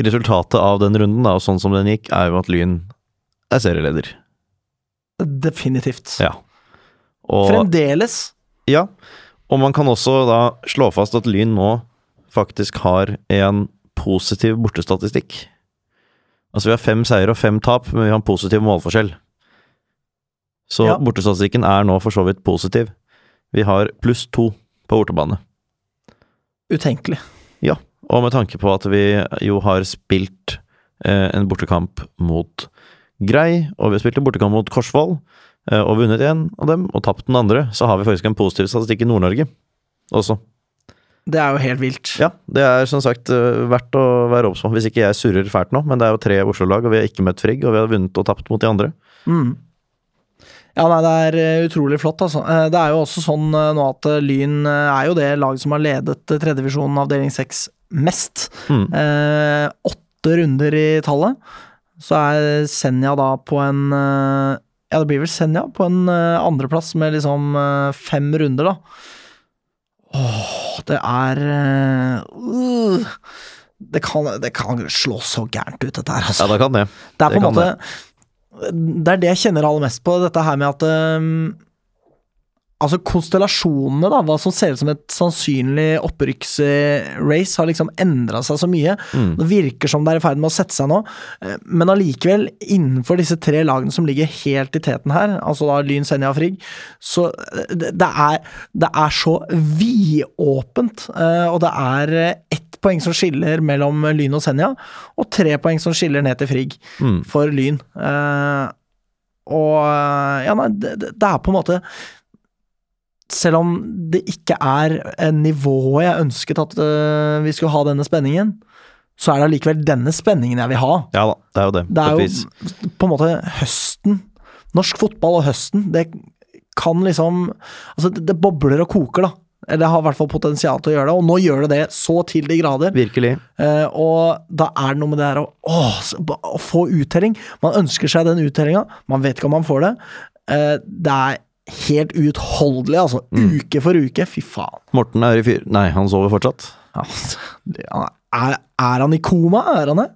resultatet av den runden, da, og sånn som den gikk, er jo at Lyn er serieleder. Definitivt. Ja. Og, Fremdeles. ja. og man kan også da slå fast at Lyn nå faktisk har en positiv bortestatistikk. Altså vi har fem seier og fem tap, men vi har en positiv målforskjell. Så Ja. bortestatistikken er nå for så vidt positiv. Vi har pluss to på bortebane. Utenkelig. Ja, og med tanke på at vi jo har spilt eh, en bortekamp mot Grei, og vi har spilt en bortekamp mot Korsvoll, eh, og vunnet én av dem, og tapt den andre, så har vi faktisk en positiv statistikk i Nord-Norge også. Det er jo helt vilt. Ja, det er som sagt eh, verdt å være obs på, hvis ikke jeg surrer fælt nå, men det er jo tre Oslo-lag, og vi har ikke møtt Frigg, og vi har vunnet og tapt mot de andre. Mm. Ja, nei, det er eh, utrolig flott, altså. Eh, Det er jo også sånn eh, nå at eh, Lyn eh, er jo det laget som har ledet eh, tredjevisjonen avdeling 6 mest. Mm. Eh, åtte runder i tallet. Så er Senja da på en eh, Ja, det blir vel Senja på en eh, andreplass med liksom eh, fem runder, da. Åh, det er eh, uh, det, kan, det kan slå så gærent ut, dette her, altså. Ja, da kan det. Det er på Det en kan måte Det er det jeg kjenner aller mest på, dette her med at øhm, Altså, konstellasjonene, da, hva som ser ut som et sannsynlig opprykksrace, har liksom endra seg så mye. Mm. Det virker som det er i ferd med å sette seg nå, eh, men allikevel, innenfor disse tre lagene som ligger helt i teten her, altså da Lyn, Senja og Frigg, så eh, det det er, det er så vidåpent, eh, og det er eh, ett poeng som skiller mellom Lyn og Senja, og tre poeng som skiller ned til Frigg Hmm. for Lyn. Eh, og eh, ja, nei, det, det det er på en måte Selv om det ikke er eh, nivået jeg ønsket at eh, vi skulle ha denne spenningen, så er det allikevel denne spenningen jeg vil ha. Ja da, det er jo det. Det på et er vis. jo på en måte høsten. Norsk fotball og høsten, det kan liksom Altså, det, det bobler og koker, da. Eller det har i hvert fall potensial til å gjøre det, og nå gjør det det så til de grader. Virkelig. Eh, og da er det noe med det her å, åh, så ba- å få uttelling. Man ønsker seg den uttellinga, man vet ikke om man får det. Eh, det er helt uutholdelig, altså. Mm. Uke for uke. Fy faen. Morten er i fyr... Nei, han sover fortsatt. Altså, det- han er, er han i koma? Er han det?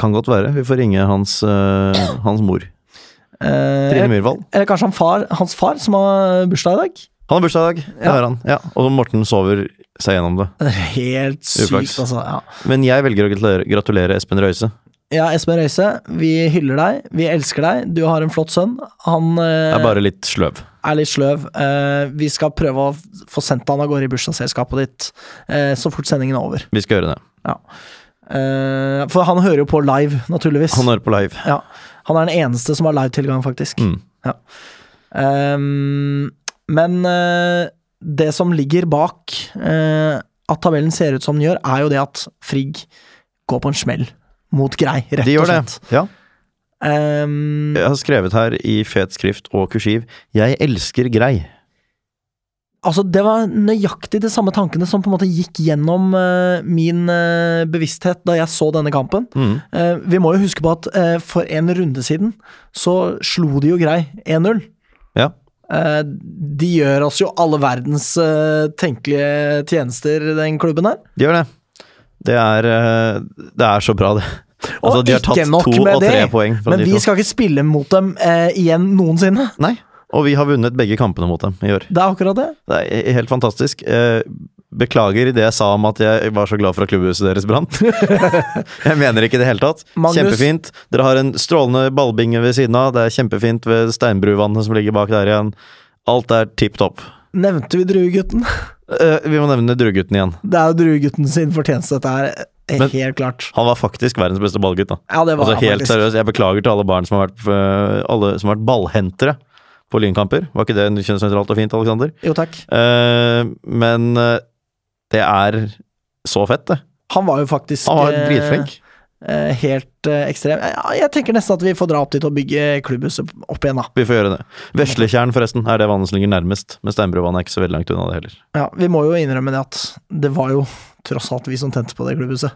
Kan godt være. Vi får ringe hans, eh, hans mor. Eh, Trine Myhrvold. Eller kanskje han far, hans far, som har bursdag i dag? Han har bursdag i dag. Det har han. Ja. Og Morten sover seg gjennom det. Helt sykt, Uflaks. altså. Ja. Men jeg velger å gratulere, gratulere Espen Røise. ja, Espen Røise, vi hyller deg. Vi elsker deg. Du har en flott sønn. Han eh, Jeg er bare litt sløv. er litt sløv. Eh, vi skal prøve å f- få sendt han av gårde i bursdagsselskapet ditt eh, så fort sendingen er over. Vi skal gjøre det. Ja. Eh, for han hører jo på live, naturligvis. Han hører på live. ja. han er den eneste som har live-tilgang, faktisk. Mm. Ja. Ehm, men eh, det som ligger bak eh, at tabellen ser ut som den gjør, er jo det at Frigg går på en smell mot Grei, rett De og gjør det. slett. Ja. Ehm, Jeg har skrevet her i fet skrift og kursiv 'Jeg elsker grei'. Altså, det var nøyaktig de samme tankene som på en måte gikk gjennom eh, min eh, bevissthet da jeg så denne kampen. Mm. Eh, vi må jo huske på at eh, for en runde siden så slo de jo grei 1-0. Ja. Eh, de gjør oss jo alle verdens eh, tenkelige tjenester, den klubben her. De gjør det. Det er, eh, det er så bra, det. Altså, Og de har tatt ikke nok to med og tre det, poeng fra men de vi to. skal ikke spille mot dem eh, igjen noensinne. Nei. Og vi har vunnet begge kampene mot dem i år. Det er akkurat det. Det er helt fantastisk. Eh, Beklager det jeg sa om at jeg var så glad for at klubbhuset deres brant. jeg mener ikke det i det hele tatt. Magnus- Kjempefint. Dere har en strålende ballbinge ved siden av. Det er kjempefint ved Steinbruvannet som ligger bak der igjen. Alt er tipp topp. Nevnte vi Druegutten? Eh, vi må nevne Druegutten igjen. Det er jo Druegutten sin fortjeneste, dette her. eh, Men- Helt klart. Han var faktisk verdens beste ballgutt, da. Ja, det var Altså han helt faktisk. seriøst, jeg beklager til alle barn som har vært, eh, alle som har vært ballhentere på lynkamper. Var ikke det kjønnsnøytralt og fint, Aleksander? Jo, takk. Eh, men eh, det er så fett, det. Han var jo faktisk Han var eh, dritflink. eh, helt eh, ekstrem. Ja, jeg tenker nesten at vi får dra opp dit og bygge klubbhuset opp igjen, da. Vi får gjøre det. Veslekjern, forresten, er det vannet som ligger nærmest. Men Steinbruvannet er ikke så veldig langt unna det heller. Ja, vi må jo innrømme det at det var jo tross alt vi som tente på det klubbhuset.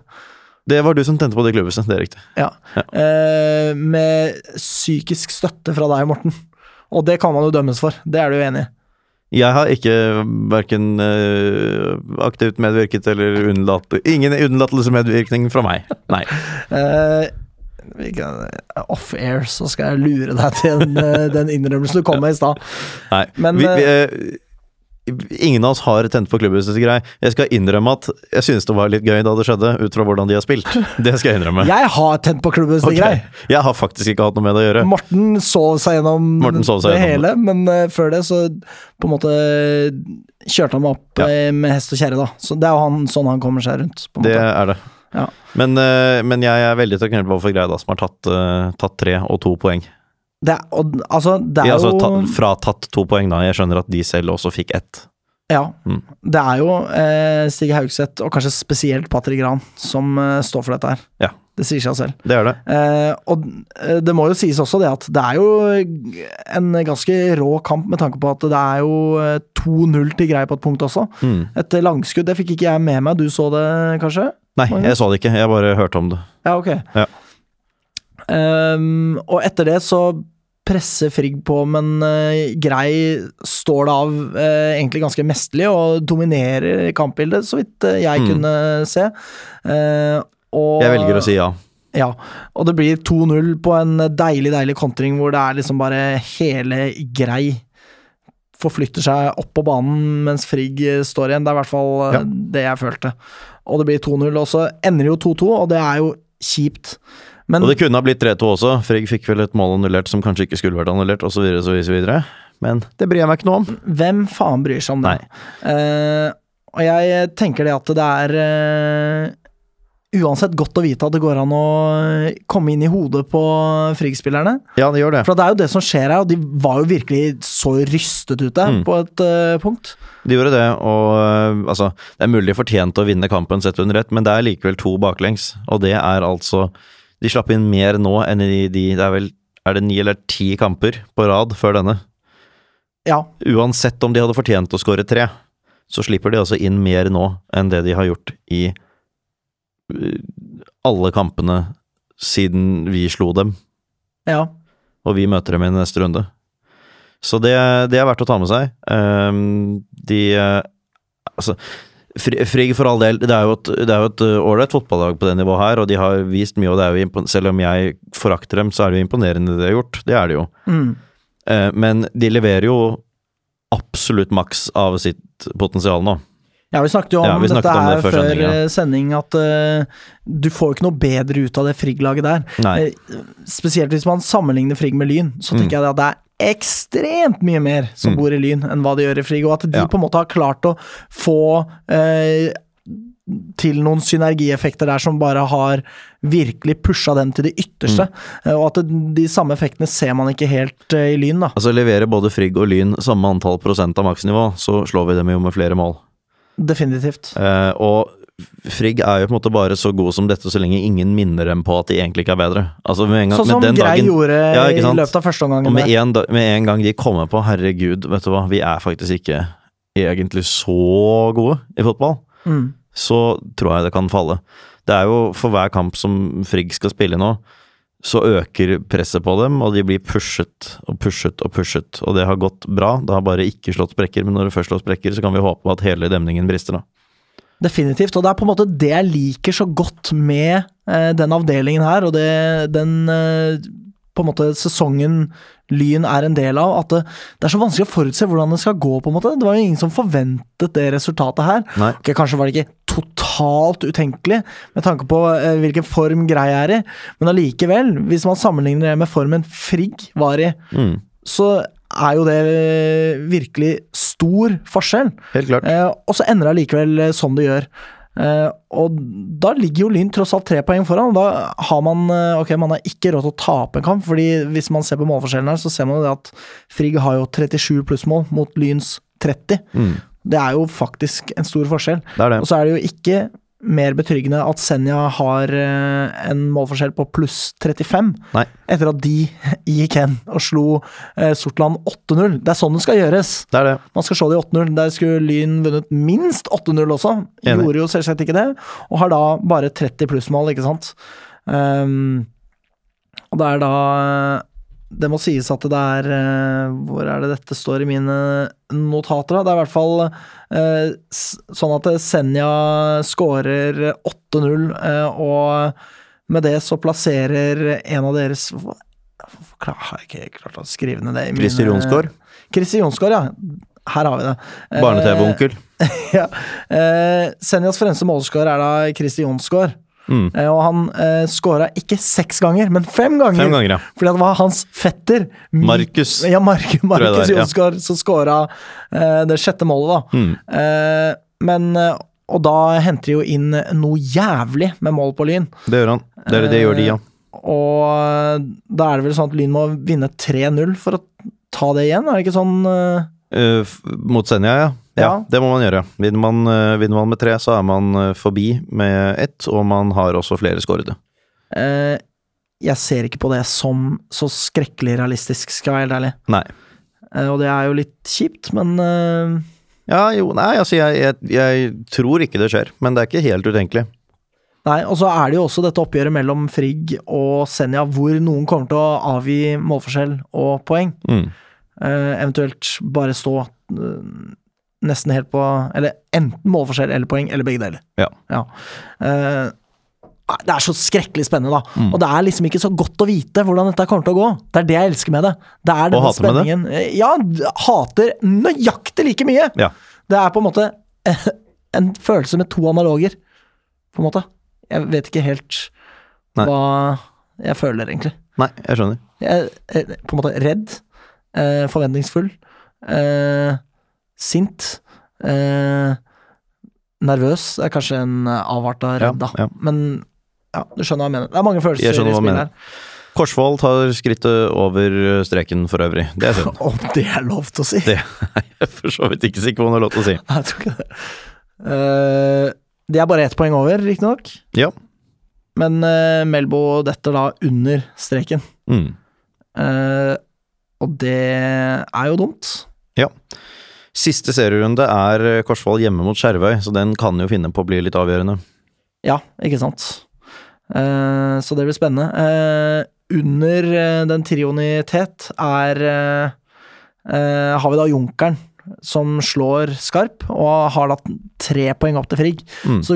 Det var du som tente på det klubbhuset, det er riktig. Ja. Eh, med psykisk støtte fra deg, Morten. Og det kan man jo dømmes for, det er du jo enig i? Jeg har ikke verken øh, aktivt medvirket eller unnlatt Ingen unnlatelsesmedvirkning fra meg. Nei. Eh, vi kan- Off-air, så eh, skal jeg lure deg til den, eh, den innrømmelsen du kom med i stad. Nei. Men, vi, vi, eh, øh, Ingen av oss har tent på klubbhuset, grei. Jeg skal innrømme at jeg synes det var litt gøy da det skjedde, ut fra hvordan de har spilt. Det skal jeg innrømme. Jeg har tent på klubben, hvis Ok. det er grei. Jeg har faktisk ikke hatt noe med det å gjøre. Morten sov seg gjennom Morten sov seg det hele, gjennom men eh, før det så på en måte kjørte han meg opp Ja. eh, med hest og kjerre, da. Så det er jo han, sånn han kommer seg rundt, på en Det måte. er det. Ja. Men, eh, men jeg er veldig takknemlig overfor Grei, da, som har tatt, eh, tatt tre og to poeng. Det er, og, altså, det er Ja, altså, jo ta, fratatt to poeng, da. Jeg skjønner at de selv også fikk ett. Ja. Mm. Det er jo eh, Stig Haugseth, og kanskje spesielt Patrick Gran, som eh, står for dette her. Ja. Det sier seg selv. Det er det. Eh, og eh, det må jo sies også det at det er jo en ganske rå kamp med tanke på at det er jo eh, 2-0 til Grei på et punkt også. Mm. Et langskudd, det fikk ikke jeg med meg. Du så det kanskje? Nei, jeg så det ikke. Jeg bare hørte om det. Ja, ok. Ja. Ehm, og etter det så presser Frigg på, men eh, Grei står det av eh, egentlig ganske mesterlig og dominerer kampbildet, så vidt eh, jeg Mm. kunne se. Eh, og, Jeg velger å si ja. Ja, og det blir 2-0 på en deilig, deilig kontring hvor det er liksom bare hele Grei forflytter seg opp på banen mens Frigg eh, står igjen. Det er i hvert fall eh, Ja. det jeg følte. Og det blir 2-0, og så ender det jo 2-2, og det er jo kjipt. Men Og det kunne ha blitt 3-2 også. Frigg fikk vel et mål annullert som kanskje ikke skulle vært annullert, osv. videre. Men det bryr jeg meg ikke noe om. hvem faen bryr seg om det? Nei. Eh, og jeg tenker det at det er eh, uansett godt å vite at det går an å komme inn i hodet på Frigg-spillerne. Ja, det gjør det. For det er jo det som skjer her, og de var jo virkelig så rystet ute Mm. på et eh, punkt. De gjorde det, og øh, altså Det er mulig de fortjente å vinne kampen sett under ett, men det er likevel to baklengs, og det er altså De slapp inn mer nå enn i de Det er vel er det ni eller ti kamper på rad før denne. Ja, Uansett om de hadde fortjent å skåre tre, så slipper de altså inn mer nå enn det de har gjort i øh, alle kampene siden vi slo dem, ja. og vi møter dem i neste runde. Så det, det er verdt å ta med seg. Ehm, de eh, Altså, Fri- Frigg for all del, det er jo et det er jo et, eh, ålreit fotballag på det nivået her, og de har vist mye, og det er jo impon- selv om jeg forakter dem, så er det jo imponerende det de har gjort. Det er det jo. Mm. Eh, Men de leverer jo absolutt maks av sitt potensial nå. Ja, vi snakket jo om Ja, vi snakket dette om det her før før sending, ja. eh, sending, at eh, du får jo ikke noe bedre ut av det Frigg-laget der. Nei. Eh, Spesielt hvis man sammenligner Frigg med Lyn, så tenker jeg at det er ekstremt mye mer som Mm. bor i Lyn enn hva de gjør i Frigg, og at de Ja. på en måte har klart å få eh, til noen synergieffekter der som bare har virkelig pusha dem til det Mm. ytterste. Eh, Og at det- de samme effektene ser man ikke helt eh, i Lyn, da. Altså leverer både Frigg og Lyn samme antall prosent av maksnivå, så slår vi dem jo med flere mål. Definitivt. Eh, og Frigg er jo på en måte bare så god som dette så lenge ingen minner dem på at de egentlig ikke er bedre. Altså med en gang, Sånn som med den Grei dagen- gjorde Ja, ikke i sant? løpet av første omgangen. Og med der. en, da- med en gang de kommer på 'herregud, vet du hva, vi er faktisk ikke egentlig så gode i fotball', Mm. så tror jeg det kan falle. Det er jo for hver kamp som Frigg skal spille nå, så øker presset på dem, og de blir pushet og pushet og pushet. Og det har gått bra, det har bare ikke slått sprekker, men når det først slår sprekker, så kan vi håpe at hele demningen brister, da. Definitivt, og det er på en måte det jeg liker så godt med eh, den avdelingen her, og det, den eh, på en måte sesongen Lyn er en del av, at det, det er så vanskelig å forutse hvordan det skal gå, på en måte. Det var jo ingen som forventet det resultatet her. Nei. Ok, kanskje var det ikke totalt utenkelig med tanke på eh, hvilken form Grei er i, men allikevel, hvis man sammenligner det med formen Frigg var i, Mm, så er jo det eh, virkelig stor forskjell. helt klart. Eh, og så ender det allikevel eh, som det gjør. Eh, og da ligger jo Lyn tross alt tre poeng foran. og Da har man eh, Ok, man har ikke råd til å tape en kamp, fordi hvis man ser på målforskjellen her, så ser man jo det at Frigg har jo 37 plussmål mot Lyns 30. Mm, Det er jo faktisk en stor forskjell. det er det. Og så er det jo ikke mer betryggende at Senja har eh, en målforskjell på pluss 35, Nei. etter at de gikk hen og slo eh, Sortland 8-0. Det er sånn det skal gjøres. Det er det. Man skal se det i 8-0. Der skulle Lyn vunnet minst 8-0 også. Enig. Gjorde jo selvsagt ikke det, og har da bare 30 plussmål, ikke sant. Ehm, og det er da Det må sies at det er eh, Hvor er det dette står i mine notater, da? Det er i hvert fall eh, s- sånn at Senja skårer 8-0, eh, og med det så plasserer en av deres Hvorfor hvorfor klar- har jeg ikke klart å skrive ned det? i mine- Christer Jonsgaard. Christer Jonsgaard, ja. her har vi det. Eh, Barne-TV-onkel. ja. eh, Senjas fremste målskårer er da Kristi Jonsgaard. Mm. Eh, og han eh, skåra ikke seks ganger, men fem ganger! Fem ganger, ja. Fordi det var hans fetter Mi- Markus. Ja, Mark, Markus det er, ja. Jonsgaard som skåra eh, det sjette målet, da. Mm. Eh, men eh, Og da henter de jo inn noe jævlig med mål på Lyn. Det gjør han. Det, er det, det gjør de, ja. Og eh, da er det vel sånn at Lyn må vinne 3-0 for å ta det igjen, er det ikke sånn? eh? Eh, f- mot Senja, ja. ja. Ja. Det må man gjøre. Vinner man, eh, vinner man med tre, så er man eh, forbi med ett, og man har også flere skårede. Eh, jeg ser ikke på det som så skrekkelig realistisk, skal jeg være helt ærlig. Nei. Eh, og det er jo litt kjipt, men eh, Ja, jo, nei, altså jeg, jeg, jeg tror ikke det skjer, men det er ikke helt utenkelig. Nei, og så er det jo også dette oppgjøret mellom Frigg og Senja, hvor noen kommer til å avgi målforskjell og poeng. Mm. Eh, eventuelt bare stå eh, nesten helt på Eller enten målforskjell eller poeng, eller begge deler. Ja. Ja. Eh, nei, det er så skrekkelig spennende, da. Mm. Og det er liksom ikke så godt å vite hvordan dette kommer til å gå. Det er det jeg elsker med det. Det er denne hater med det? spenningen. Eh, Ja, d- hater nøyaktig like mye. Ja. Det er på en måte eh, en følelse med to analoger, på en måte. Jeg vet ikke helt Nei. hva jeg føler, egentlig. Nei, jeg skjønner. Jeg er eh, på en måte redd, eh, forventningsfull, eh, sint, eh, nervøs. Det er kanskje en eh, avart av redd, da. ja. Men ja, du skjønner hva jeg mener. Det er mange følelser Jeg i skjønner hva spillet du mener. her. Korsvoll tar skrittet over eh, streken for øvrig. Det er synd. Om det er lov til å si! Det er jeg for så vidt ikke sikker på om det er lov til å si. Nei, jeg tror ikke det. Eh, de er bare ett poeng over, riktignok. Ja. Men eh, Melbo detter da under streken. Mm. Eh, og det er jo dumt. Ja. Siste serierunde er eh, Korsvoll hjemme mot Skjervøy, så den kan jo finne på å bli litt avgjørende. Ja, ikke sant. Eh, så det blir spennende. Eh, under eh, den trioen i tet er eh, eh, Har vi da Junkeren, som slår skarp, og har da tre poeng opp til Frigg. Mm. Så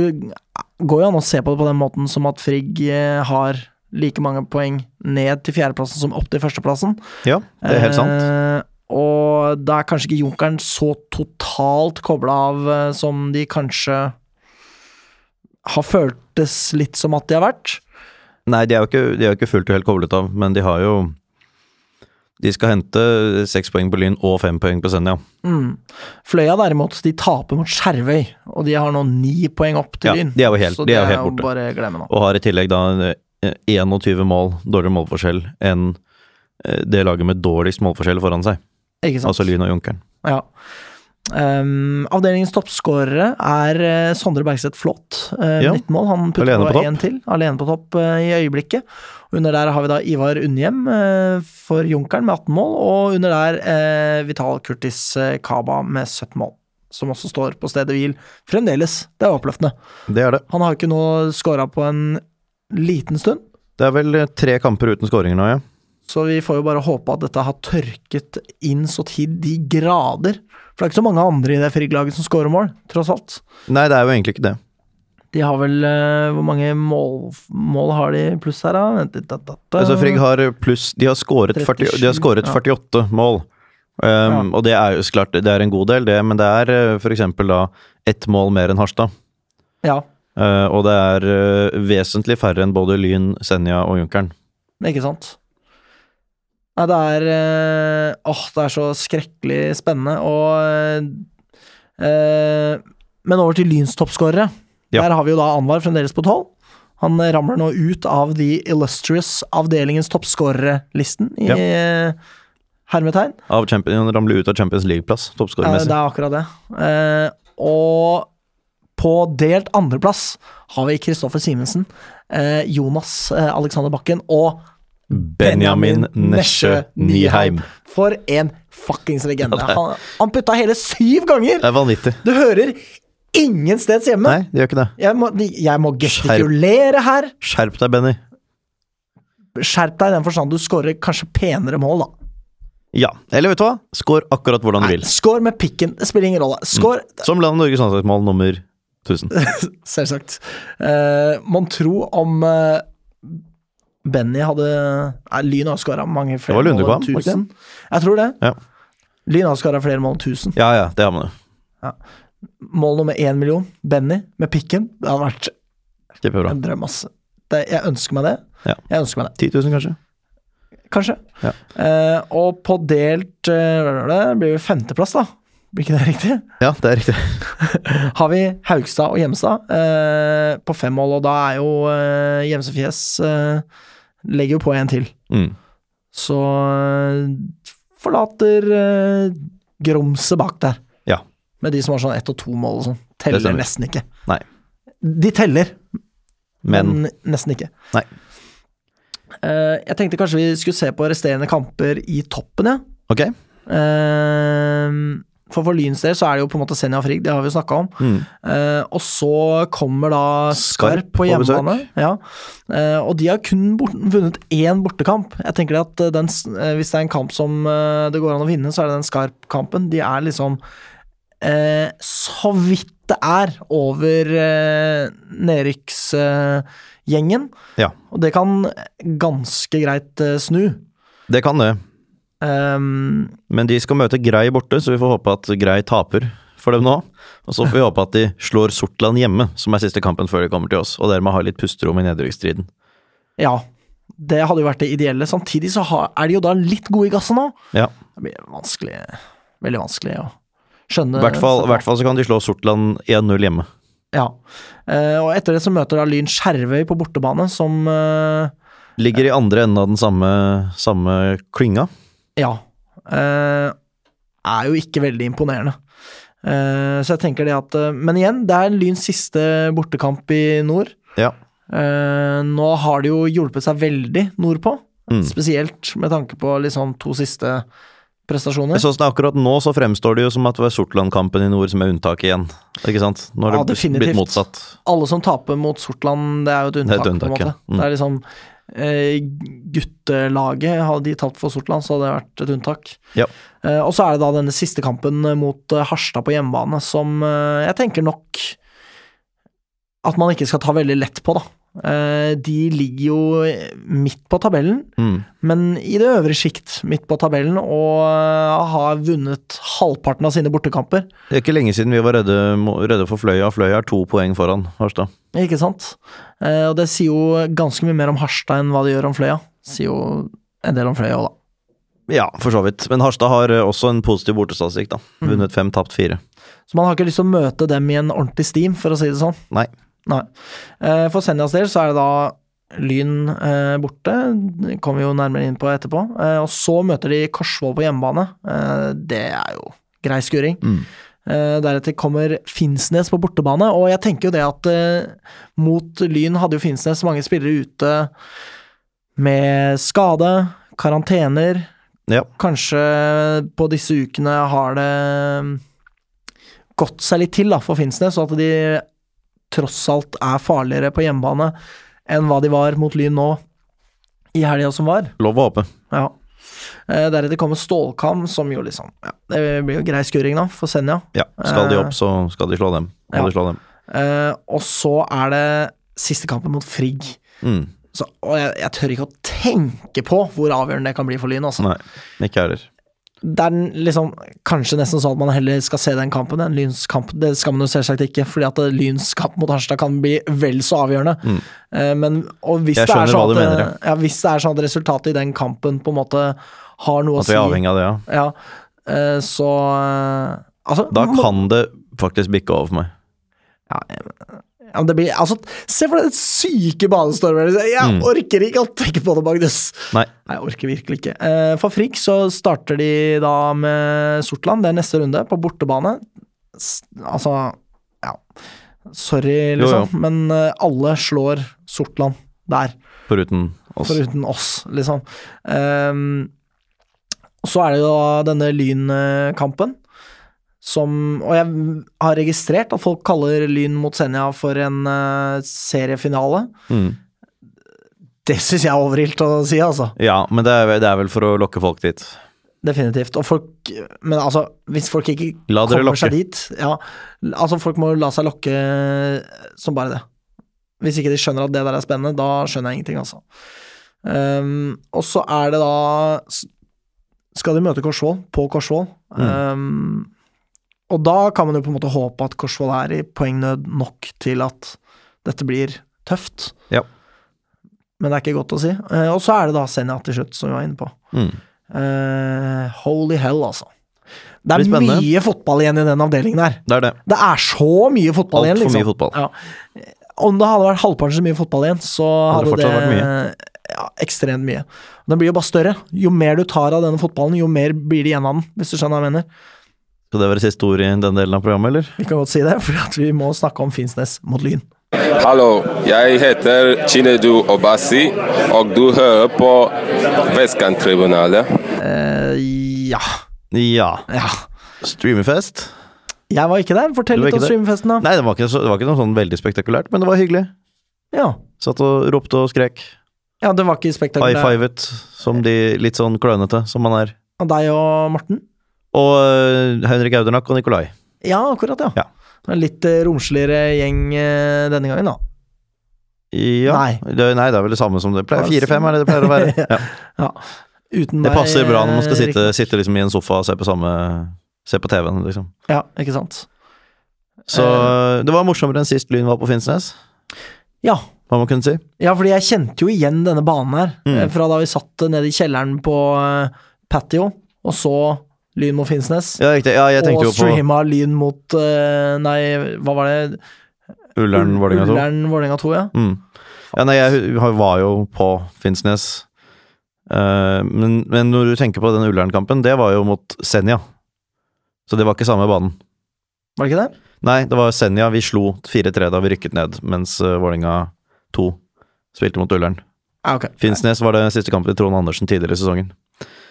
går jo an å se på det på den måten som at Frigg eh, har like mange poeng ned til fjerdeplassen som opp til førsteplassen. Ja, det er helt sant. Eh, og da er kanskje ikke Junkeren så totalt kobla av eh, som de kanskje har føltes litt som at de har vært. Nei, de er jo ikke, de er jo ikke fullt og helt koblet av, men de har jo De skal hente seks poeng på Lyn og fem poeng på Senja. Mm. Fløya derimot, de taper mot Skjervøy, og de har nå ni poeng opp til Ja, Lyn. de er jo helt- så de det er jo helt borte. bare å glemme nå. Og har i tillegg da eh, 21 mål, dårligere målforskjell enn eh, det laget med dårligst målforskjell foran seg, Ikke sant? altså Lyn og Junkeren. Ja. Ehm, avdelingens toppskårere er eh, Sondre Bergseth Flåt. eh, Ja. 19 mål. Han putter Alene på på topp. én til. Alene på topp eh, i øyeblikket. Under der har vi da Ivar Unnhjem eh, for Junkeren med 18 mål, og under der eh, Vital Kurtis eh, Kaba med 17 mål. Som også står på stedet hvil fremdeles. Det er oppløftende. Det er det. Han har jo ikke nå scora på en liten stund, Det er vel eh, tre kamper uten skåringer nå, ja. så vi får jo bare håpe at dette har tørket inn så til de grader. For det er ikke så mange andre i det Frigg-laget som scorer mål, tross alt. Nei, det er jo egentlig ikke det. De har vel eh, Hvor mange mål, mål har de pluss her, da? Vent litt, da, da, da. Altså Frigg har pluss De har skåret, 40, 37, de har skåret ja. 48 mål. Um, Og det er jo så klart, det er en god del, det, men det er eh, for eksempel da ett mål mer enn Harstad. Ja, Eh, og det er eh, vesentlig færre enn både Lyn, Senja og Junkeren. ikke sant? Nei, det er eh, Åh, det er så skrekkelig spennende, og eh, Men over til Lyns toppskårere. Ja. Der har vi jo da Anwar fremdeles på tolv. Han eh, ramler nå ut av The Illustrious avdelingens toppskårerlisten, i Ja. eh, hermetegn. Av Champions, ramler ut av Champions League-plass, Ja, toppskårermessig. det er akkurat det. Eh, og på delt andreplass har vi Kristoffer Simensen, eh, Jonas eh, Alexander Bakken og Benjamin Nesje Nyheim. For en fuckings legende. det er- Han, han putta hele syv ganger! Det er vanvittig. Du hører ingen steds hjemme. Nei, det gjør ikke det. Jeg må, jeg må gestikulere her. Skjerp deg, Benny. Skjerp deg i den forstand du scorer kanskje penere mål, da. Ja. Eller vet du hva? Skår akkurat hvordan du vil. Mm. Skår med pikken, det spiller ingen rolle. Skår Som landet Norges landslagsmål nummer 1000. Selvsagt. Eh, Mon tro om eh, Benny hadde Nei, Lyn har skåra mange flere Det var Lundekvam, mål enn var det 1000. Jeg tror det. Ja. Lyn har skåra flere mål enn 1000. Ja, ja, det har man jo. Mål nummer én million, Benny med pikken. Det hadde vært Kjempebra. en drøm, ass. Det, jeg ønsker meg det. Ja. Jeg ønsker meg det, 10 000, kanskje? kanskje. Ja. Eh, og på delt eh, hva er det, blir vi femteplass, da. Blir ikke det riktig? Ja, det er riktig. Har vi Haugstad og Hjemstad eh, på fem mål, og da er jo eh, Hjemsefjes eh, Legger jo på en til. Mm. Så eh, forlater eh, Gromsø bak der. Ja. Med de som har sånn ett og to mål og sånn. Det Teller stemmer. nesten ikke. Nei. De teller, men, Men nesten ikke. Nei. Eh, jeg tenkte kanskje vi skulle se på resterende kamper i toppen, ja. ok. Eh, for for Lyns del så er det jo på en måte Senja og Frigg, det har vi jo snakka om. Mm. Eh, og så kommer da Skarp, Skarp på på besøk. hjemmebane. Ja. Eh, og de har kun bort, vunnet én bortekamp. Jeg tenker at eh, den, s- eh, Hvis det er en kamp som eh, det går an å vinne, så er det den Skarp-kampen. De er liksom eh, så vidt det er over eh, nedrykksgjengen. Ja. og det kan ganske greit eh, snu. Det kan det. Um, Men de skal møte Grei borte, så vi får håpe at Grei taper for dem nå. Og så får vi håpe at de slår Sortland hjemme, som er siste kampen før de kommer til oss, og dermed har litt pusterom i nedrykksstriden. ja. Det hadde jo vært det ideelle. Samtidig så har, er de jo da litt gode i gasset nå. Ja. Det blir vanskelig Veldig vanskelig å skjønne. I hvert fall, i hvert fall så kan de slå Sortland 1-0 hjemme. Ja. Eh, og etter det så møter da Lyn Skjervøy på bortebane, som eh, Ligger i andre enden av den samme, samme klynga. Ja. eh, er jo ikke veldig imponerende. Eh, så jeg tenker det at eh, Men igjen, det er Lyns siste bortekamp i nord. Ja. Eh, nå har de jo hjulpet seg veldig nordpå, Mm. spesielt med tanke på liksom to siste prestasjoner. Sånn som det er akkurat nå så fremstår det jo som at det var Sortland-kampen i nord som er unntaket igjen. Ikke sant? Nå har Ja, det definitivt. blitt motsatt. alle som taper mot Sortland, det er jo et er et unntak, på en unntak, måte. ja. Mm. Det er liksom eh, Guttelaget hadde de tapt for Sortland, så hadde det vært et unntak. Ja. Eh, og så er det da denne siste kampen mot eh, Harstad på hjemmebane, som eh, jeg tenker nok at man ikke skal ta veldig lett på, da. Eh, de ligger jo eh, midt på tabellen, Mm. men i det øvre sjikt midt på tabellen, og eh, har vunnet halvparten av sine bortekamper. Det er ikke lenge siden vi var redde, mo- redde for Fløya. Fløya er to poeng foran Harstad. Ikke sant? Eh, og det sier jo ganske mye mer om Harstad enn hva det gjør om Fløya. Sier jo en del om Fløya òg, da. Ja, for så vidt. Men Harstad har eh, også en positiv bortestatistikk, da. Vunnet fem, tapt fire. Så man har ikke lyst til å møte dem i en ordentlig steam, for å si det sånn. Nei. Nei. Eh, for Senjas del så er det da Lyn eh, borte, det kommer vi jo nærmere inn på etterpå. Eh, og så møter de Korsvoll på hjemmebane. Eh, det er jo grei skuring. Mm. Eh, Deretter kommer Finnsnes på bortebane, og jeg tenker jo det at eh, mot Lyn hadde jo Finnsnes mange spillere ute med skade, karantener. Ja. Kanskje på disse ukene har det eh, gått seg litt til da, for Finnsnes, og at de tross alt er farligere på hjemmebane enn hva de var mot Lyn nå i helga som var. Lov å håpe. Ja. Eh, Deretter kommer Stålkam, som jo liksom ja, Det blir jo grei skuring, da, for Senja. Ja. Skal de opp, så skal de slå dem. Må Ja. de slå dem. Eh, og så er det siste kampen mot Frigg. Mm. Så, og jeg, jeg tør ikke å tenke på hvor avgjørende det kan bli for Lyn. Altså. Nei, ikke jeg heller. Det er den liksom, kanskje nesten sånn at man heller skal se den kampen enn Lyns kamp. Det skal man jo selvsagt ikke, fordi at eh, Lyns kamp mot Harstad kan bli vel så avgjørende. Eh, men og hvis Mm. Jeg det, er skjønner sånn hva at, du eh, mener, ja, hvis det er sånn at resultatet i den kampen på en måte har noe At vi er å si, avhengig av det, ja. ja, eh, så eh, Altså, Da må- kan det faktisk bikke over for meg. Ja, men det blir, altså, se for deg den syke banestormen. Jeg Mm. orker ikke å tenke på det, Magnus. Nei. Nei, jeg orker virkelig ikke. Eh, For Frigg så starter de da med Sortland, det er neste runde, på bortebane. S- Altså, ja Sorry, Jo, liksom, men eh, alle slår Sortland der, Foruten oss. foruten oss, liksom. Ehm, så er det jo da denne Lyn-kampen, som Og jeg har registrert at folk kaller Lyn mot Senja for en eh, seriefinale. Mm. Det syns jeg er overilt å si, altså. Ja, men det er, vel- det er vel for å lokke folk dit. Definitivt. Og folk Men altså, hvis folk ikke La dere kommer seg lokke. dit Ja, altså folk må jo la seg lokke som bare det. Hvis ikke de skjønner at det der er spennende, da skjønner jeg ingenting, altså. Ehm, og så er det da s- skal de møte Korsvoll på Korsvoll. Mm. Um, og da kan man jo på en måte håpe at Korsvoll er i poengnød nok til at dette blir tøft. Ja. Men det er ikke godt å si. Eh, og så er det da Senja til slutt, som vi var inne på. Mm. Eh, holy hell, altså. Det Det er blir spennende. mye fotball igjen i den avdelingen her. Det er det. Det er så mye fotball Alt igjen, for liksom. mye fotball. Ja. Om det hadde vært halvparten så mye fotball igjen, så Hadde det hadde det, fortsatt ja, ekstremt mye. Den blir jo bare større. Jo mer du tar av denne fotballen, jo mer blir det igjen av den, hvis du skjønner hva jeg mener. Skal det være siste ord i den delen av programmet, eller? Vi kan godt si det, for at vi må snakke om Finnsnes mot Lyn. Hallo, jeg heter Chinedu Obasi, og du hører på Vestkanttribunalet. Eh, ja. Ja. ja. Streamerfest. Jeg var ikke der. Fortell Du var litt om ikke der? streamfesten, da. Nei, det var, ikke så, det var ikke noe sånn veldig spektakulært, men det var hyggelig. Ja. Satt og ropte og skrek. ja, det var ikke High spektakulært. fivet, som de litt sånn klønete som man er. Og deg og Morten? Og øh, Henrik Audernak og Nikolai. Ja, akkurat, ja. Ja. En litt eh, romsligere gjeng eh, denne gangen, da. Ja. Nei. Altså- Det, nei, det er vel det samme som det pleier. Fire-fem er det det pleier å være. Ja. Ja. Uten Det meg, passer bra når man skal eh, sitte, sitte liksom i en sofa og se på samme Se på TV-en, liksom. Ja, ikke sant. Så Eh. det var morsommere enn sist Lyn var på Finnsnes, Ja. hva man kunne si. ja, fordi jeg kjente jo igjen denne banen her, Mm. eh, fra da vi satt eh, nede i kjelleren på eh, patio og så Lyn mot Finnsnes. Ja, riktig. Ja, jeg og tenkte jo på streama Lyn mot eh, Nei, hva var det? Ullern Vålerenga 2. Ullern Vålerenga 2, ja. Mm. Ja, nei, jeg hu- var jo på Finnsnes. Eh, men, men når du tenker på den Ullern-kampen, det var jo mot Senja. Så det var ikke samme banen. Var det ikke det? Nei, det var Senja vi slo 4-3 da vi rykket ned, mens uh, Vålerenga 2 spilte mot Ullern. Ja, ok. Finnsnes var det siste kampen til Trond Andersen tidligere i sesongen.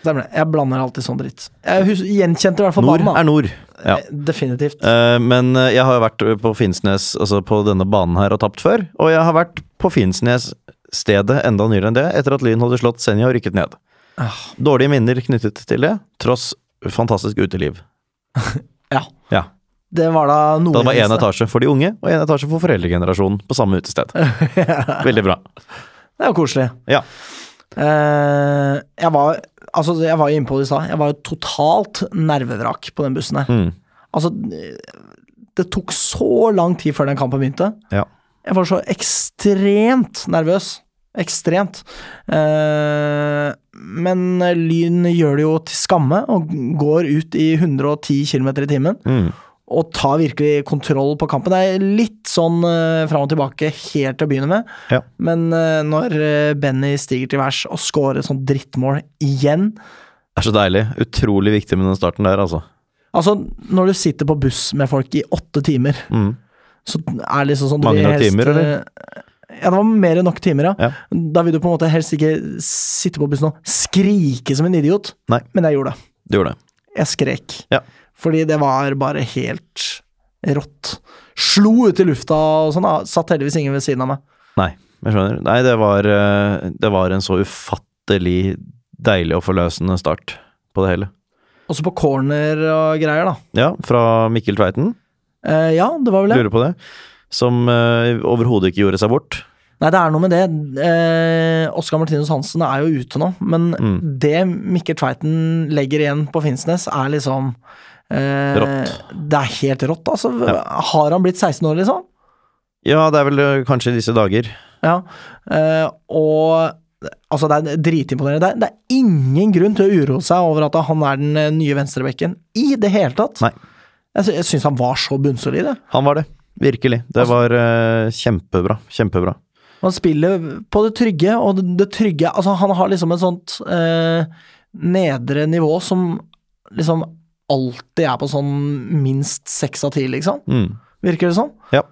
Stemmer det. Jeg blander alltid sånn dritt. Jeg hus gjenkjente i hvert fall Nord banen, da. er nord. Ja. Eh, Definitivt. Eh, men eh, jeg har jo vært på Finnsnes, altså på denne banen her, og tapt før. Og jeg har vært på Finnsnes-stedet enda nyere enn det, etter at Lyn hadde slått Senja og rykket ned. Ah. Dårlige minner knyttet til det, tross fantastisk uteliv. Ja. Ja. Det var da noe Da det var én etasje for de unge, og én etasje for foreldregenerasjonen på samme utested. Veldig bra. Det er jo koselig. Ja. Eh, jeg var Altså, jeg var jo inne på det i stad. Jeg var jo totalt nervevrak på den bussen her. Mm. Altså, det tok så lang tid før den kampen begynte. ja. Jeg var så ekstremt nervøs. Ekstremt. Eh, men Lyn gjør det jo til skamme og går ut i 110 km i timen. Mm. Og tar virkelig kontroll på kampen. Det er litt sånn eh, fram og tilbake helt til å begynne med. Ja. Men eh, når eh, Benny stiger til værs og scorer et sånt drittmål igjen Det er så deilig. Utrolig viktig med den starten der, altså. Altså, når du sitter på buss med folk i åtte timer, Mm. så er det liksom sånn du Mange vil eh, nok timer, eller? Ja, det var mer enn nok timer, ja. Ja. Da vil du på en måte helst ikke sitte på bussen og skrike som en idiot, Nei. men jeg gjorde det. Du gjorde det. Jeg skrek. Ja. Fordi det var bare helt rått. Slo ut i lufta og sånn, da. satt heldigvis ingen ved siden av meg. Nei, jeg skjønner. Nei, det var, eh, det var en så ufattelig deilig og forløsende start på det hele. Også på corner og greier, da. Ja, fra Mikkel Tveiten, Eh, ja, det var vel det. lurer på det. Som eh, overhodet ikke gjorde seg bort. Nei, det er noe med det. Eh, Oskar Martinus Hansen er jo ute nå, men Mm. det Mikkel Tveiten legger igjen på Finnsnes, er liksom eh, Rått. Det er helt rått, altså. Har han blitt 16 år, liksom? Ja, det er vel eh, kanskje i disse dager. Ja. Eh, og Altså, det er dritimponerende. Det er, det er ingen grunn til å uroe seg over at han er den eh, nye venstrebekken i det hele tatt. Nei. Jeg, sy jeg syns han var så bunnsolid. jeg. Han var det. Virkelig. Det var eh, kjempebra. Kjempebra. Han spiller på det trygge, og det, det trygge Altså, han har liksom et sånt eh, nedre nivå som liksom alltid er på sånn minst seks av ti, liksom. Mm. Virker det sånn? Ja.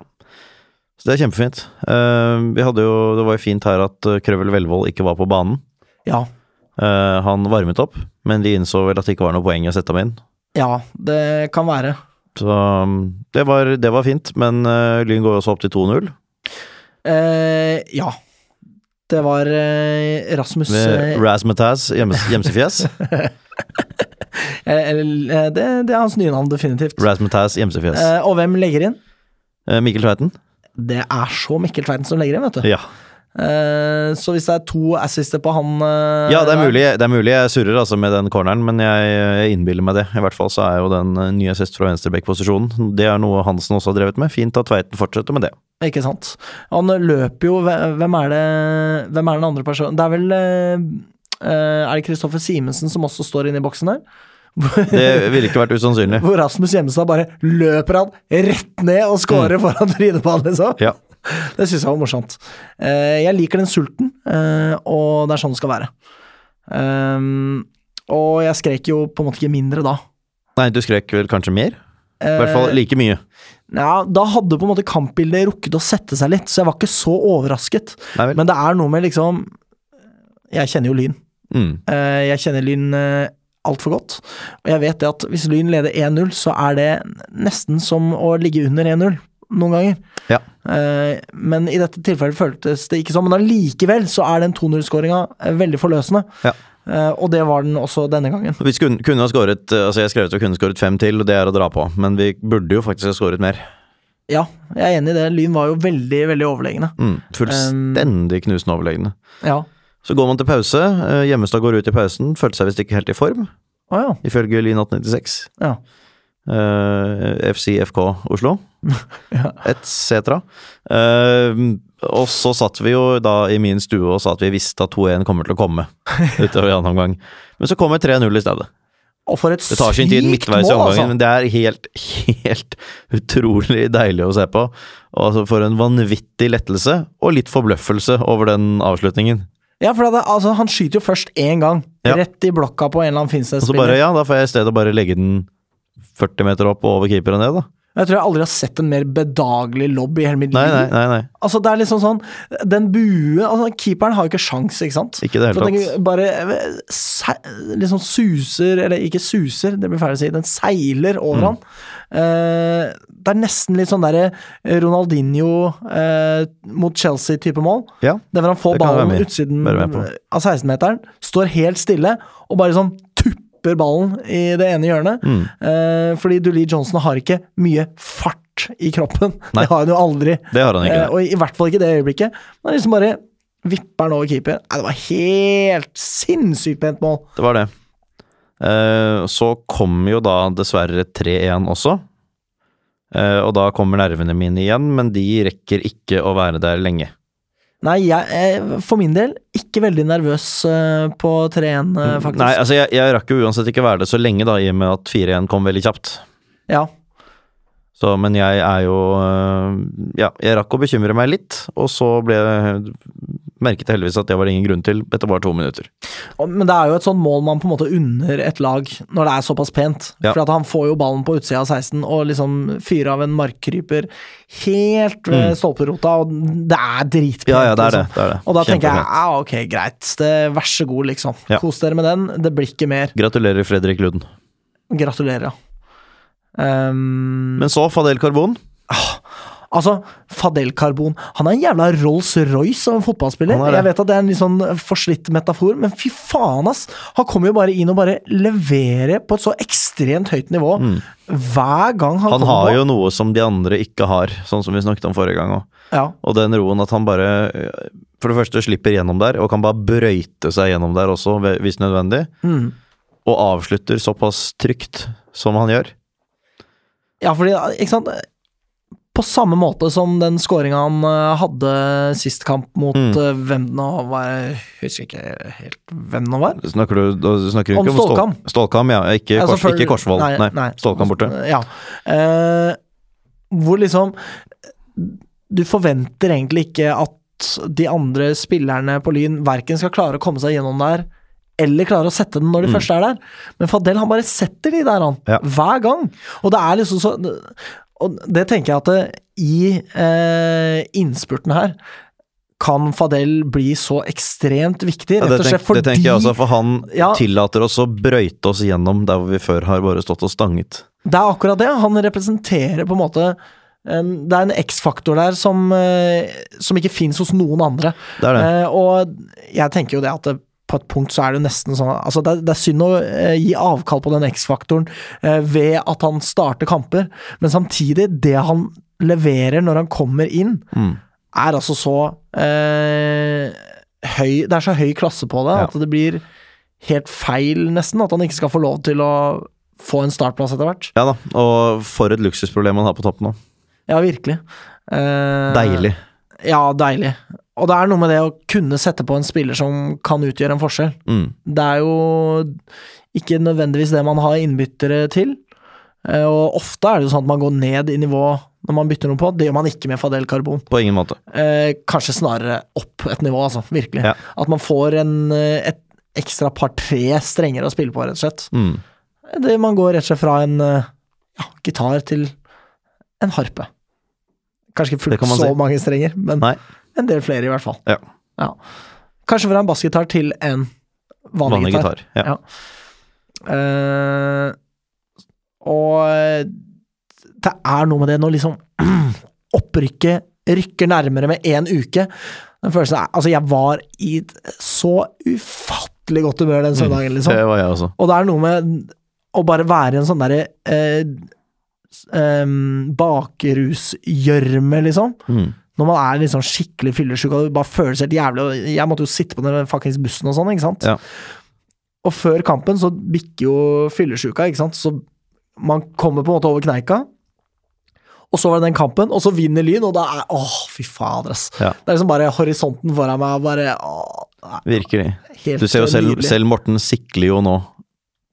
Så det er kjempefint. Eh, vi hadde jo, det var jo fint her at eh, Krøvel Velvold ikke var på banen. Ja. Eh, han varmet opp, men de innså vel at det ikke var noe poeng i å sette ham inn. Ja, det kan være. Så um, det var, det var fint, men eh, Lyn går jo også opp til 2-0 Eh, ja. Det var eh, Rasmus eh, med Razmataz gjems- gjemsefjes. eh, eller, eh, det, det er hans nye navn, definitivt. Razmataz gjemsefjes. Eh, og hvem legger inn? Eh, Mikkel Tveiten? Det er så Mikkel Tveiten som legger inn, vet du. Ja. Eh, så hvis det er to assister på han eh, Ja, det er mulig, det er mulig jeg surrer altså med den corneren, men jeg, jeg innbiller meg det. I hvert fall så er jo den eh, nye assist fra venstreback-posisjonen. Det er noe Hansen også har drevet med. Fint at Tveiten fortsetter med det. Ikke sant. Han løper jo Hvem er det Hvem er den andre personen Det er vel eh, eh, Er det Kristoffer Simensen som også står inne i boksen der? Det ville ikke vært usannsynlig. Hvor Rasmus Hjemmestad bare løper han rett ned og scorer foran trynet på han, liksom. Mm. Ja. Det syns jeg var morsomt. Eh, jeg liker den sulten, eh, og det er sånn det skal være. Ehm, og jeg skrek jo på en måte ikke mindre da. Eh, Nei, du skrek vel kanskje mer? I hvert fall like mye. Ja, da hadde på en måte kampbildet rukket å sette seg litt, så jeg var ikke så overrasket. Nei vel. Men det er noe med liksom Jeg kjenner jo Lyn. Mm. Eh, Jeg kjenner Lyn eh, altfor godt. Og jeg vet det at hvis Lyn leder 1-0, så er det nesten som å ligge under 1-0 noen ganger. Ja. Eh, Men i dette tilfellet føltes det ikke sånn. Men allikevel så er den 2-0-skåringa veldig forløsende. Ja. Eh, Og det var den også denne gangen. Vi skulle, kunne ha skåret eh, altså jeg skrev ut at vi kunne skåret fem til, og det er å dra på. Men vi burde jo faktisk ha skåret mer. Ja, jeg er enig i det. Lyn var jo veldig, veldig overlegne. Mm. Fullstendig knusende overlegne. Ja. Så går man til pause. eh, Hjemmestad går ut i pausen. Følte seg visst ikke helt i form, Å ja. ifølge Lyn 1896. ja. eh, FC FK Oslo, etc. Eh, og så satt vi jo da i min stue og sa at vi visste at 2-1 kommer til å komme utover i annen omgang. Men så kommer 3-0 i stedet. Og for et Det tar sin tid sykt midtveis i mål, omgangen, altså! men det er helt, helt utrolig deilig å se på. Og altså for en vanvittig lettelse, og litt forbløffelse over den avslutningen. Ja, for det, er- altså, han skyter jo først én gang, Ja. rett i blokka på en eller annen Og så bare, Finnsnes-spiller. ja, da får jeg i stedet bare legge den 40 meter opp og over keeperen ned, da. Jeg tror jeg aldri har sett en mer bedagelig lobb i hele mitt Nei, liv. nei, nei. nei. Altså, det er liksom sånn Den bue altså, Keeperen har jo ikke sjans, ikke sant? Ikke i det hele For at tatt. Den bare eh, se, liksom suser Eller ikke suser, det blir feil å si. Den seiler Mm. over han. Eh, det er nesten litt sånn derre Ronaldinho eh, mot Chelsea-type mål. Ja. Der hvor han får Det kan jeg være ballen med i. utsiden Være med på. av 16-meteren, står helt stille og bare sånn tupper ballen i det ene hjørnet. Mm. Eh, fordi Dulee Johnson har ikke mye fart i kroppen. Nei. Det har hun jo aldri. Det har han ikke, nei. Eh, og i hvert fall ikke det øyeblikket. Men liksom bare vipper han over keeper. Nei, det var helt sinnssykt pent mål. Det var det. Eh, så kom jo da dessverre 3-1 også. Eh, og da kommer nervene mine igjen, men de rekker ikke å være der lenge. Nei, jeg er for min del ikke veldig nervøs eh, på 3-1, eh, faktisk. Nei, altså jeg, jeg rakk jo uansett ikke være der så lenge, da, i og med at 4-1 kom veldig kjapt. Ja. Så, men jeg er jo øh, Ja, jeg rakk å bekymre meg litt, og så ble merket jeg heldigvis at det var det ingen grunn til etter bare to minutter. Og- Men det er jo et sånt mål man på en måte unner et lag, når det er såpass pent. Ja. For at han får jo ballen på utsida av 16 og liksom fyrer av en markkryper helt ved stolperota, og det er dritpent. Mm. Ja, ja, det er det, liksom. det er det. Og da tenker jeg Kjempepent. ja, ok, greit, det, vær så god, liksom. Ja. Kos dere med den, det blir ikke mer. Gratulerer, Fredrik Lund. Gratulerer, ja. Ehm, Men så Fadel Karbon. altså, Fadel Karbon Han er en jævla Rolls-Royce av en fotballspiller. Han er det. Jeg vet at det er en litt sånn forslitt metafor, men fy faen, ass! Han kommer jo bare inn og bare leverer på et så ekstremt høyt nivå hver gang han, Mm. Han kommer har på. jo noe som de andre ikke har, sånn som vi snakket om forrige gang òg. Ja. Og den roen at han bare øh, for det første slipper gjennom der, og kan bare brøyte seg gjennom der også, ve- hvis nødvendig. Mm. Og avslutter såpass trygt som han gjør. ja, fordi, ikke sant På samme måte som den scoringa han eh, hadde sist kamp mot Mm. eh, hvem det nå var Jeg husker ikke helt hvem det nå var. Snakker du, da snakker du Om ikke om, Stål- Stålkam. Stålkam, ja. Ikke, Ja, Kors, selvfølgelig. ikke Korsvoll. Nei, Stålkam borte. Ja. Eh, hvor liksom Du forventer egentlig ikke at de andre spillerne på Lyn verken skal klare å komme seg gjennom der, eller klare å sette den når de først er der. Men Fadel, han bare setter de der, han. Mm. Ja. Hver gang. Og det er liksom så Og det tenker jeg at det, i eh, innspurten her kan Fadel bli så ekstremt viktig, Ja, rett og det, slett tenk, det fordi tenker jeg også, for han Ja. tillater oss å brøyte oss gjennom der hvor vi før har bare stått og stanget. Det er akkurat det. Han representerer på en måte en, Det er en X-faktor der som, eh, som ikke fins hos noen andre. Det er det. Eh, og jeg tenker jo det at det, på et punkt så er det jo nesten sånn altså Det, er- det er synd å eh, gi avkall på den X-faktoren eh, ved at han Mm. starter kamper, men samtidig, det han leverer når han kommer inn, er altså så eh, høy Det er så høy klasse på det Ja. at det blir helt feil, nesten, at han ikke skal få lov til å få en startplass etter hvert. Ja da, og for et luksusproblem han har på toppen nå. Ja, virkelig. Eh, Deilig. Ja, deilig. Og det er noe med det å kunne sette på en spiller som kan utgjøre en forskjell. Mm. Det er jo ikke nødvendigvis det man har innbyttere til. Eh, Og ofte er det jo sånn at man går ned i nivå når man bytter noe på. Det gjør man ikke med Fadel Karbon. På ingen måte. Eh, kanskje snarere opp et nivå, altså. Virkelig. Ja. At man får en, eh, et ekstra par-tre strengere å spille på, rett og slett. Mm. Det, man går rett og slett fra en eh, ja, gitar til en harpe. Kanskje ikke Det fullt kan man så si. mange strenger, men Nei. en del flere, i hvert fall. Ja. Ja. Kanskje fra en bassgitar til en vanlig Vanlig gitar. gitar. Ja. Ja. Eh, og det er noe med det når liksom opprykket rykker nærmere med én uke. Den følelsen er, altså Jeg var i et så ufattelig godt humør den søndagen, liksom. Mm. Det var jeg også. Og det er noe med å bare være i en sånn derre eh, s- em, bakrusgjørme, liksom. Mm. Når man er liksom skikkelig fyllesyk og det bare føles helt jævlig. og Jeg måtte jo sitte på den fuckings bussen og sånn, ikke sant. Ja. Og før kampen så bikker jo fyllesyka, ikke sant. Så man kommer på en måte over kneika. Og så var det den kampen, og så vinner Lyn, og da er Åh, fy fader, ass. Ja. Det er liksom bare horisonten foran meg, og bare åh, det er Virkelig. helt Du ser jo selv, nydelig. selv Morten sikler jo nå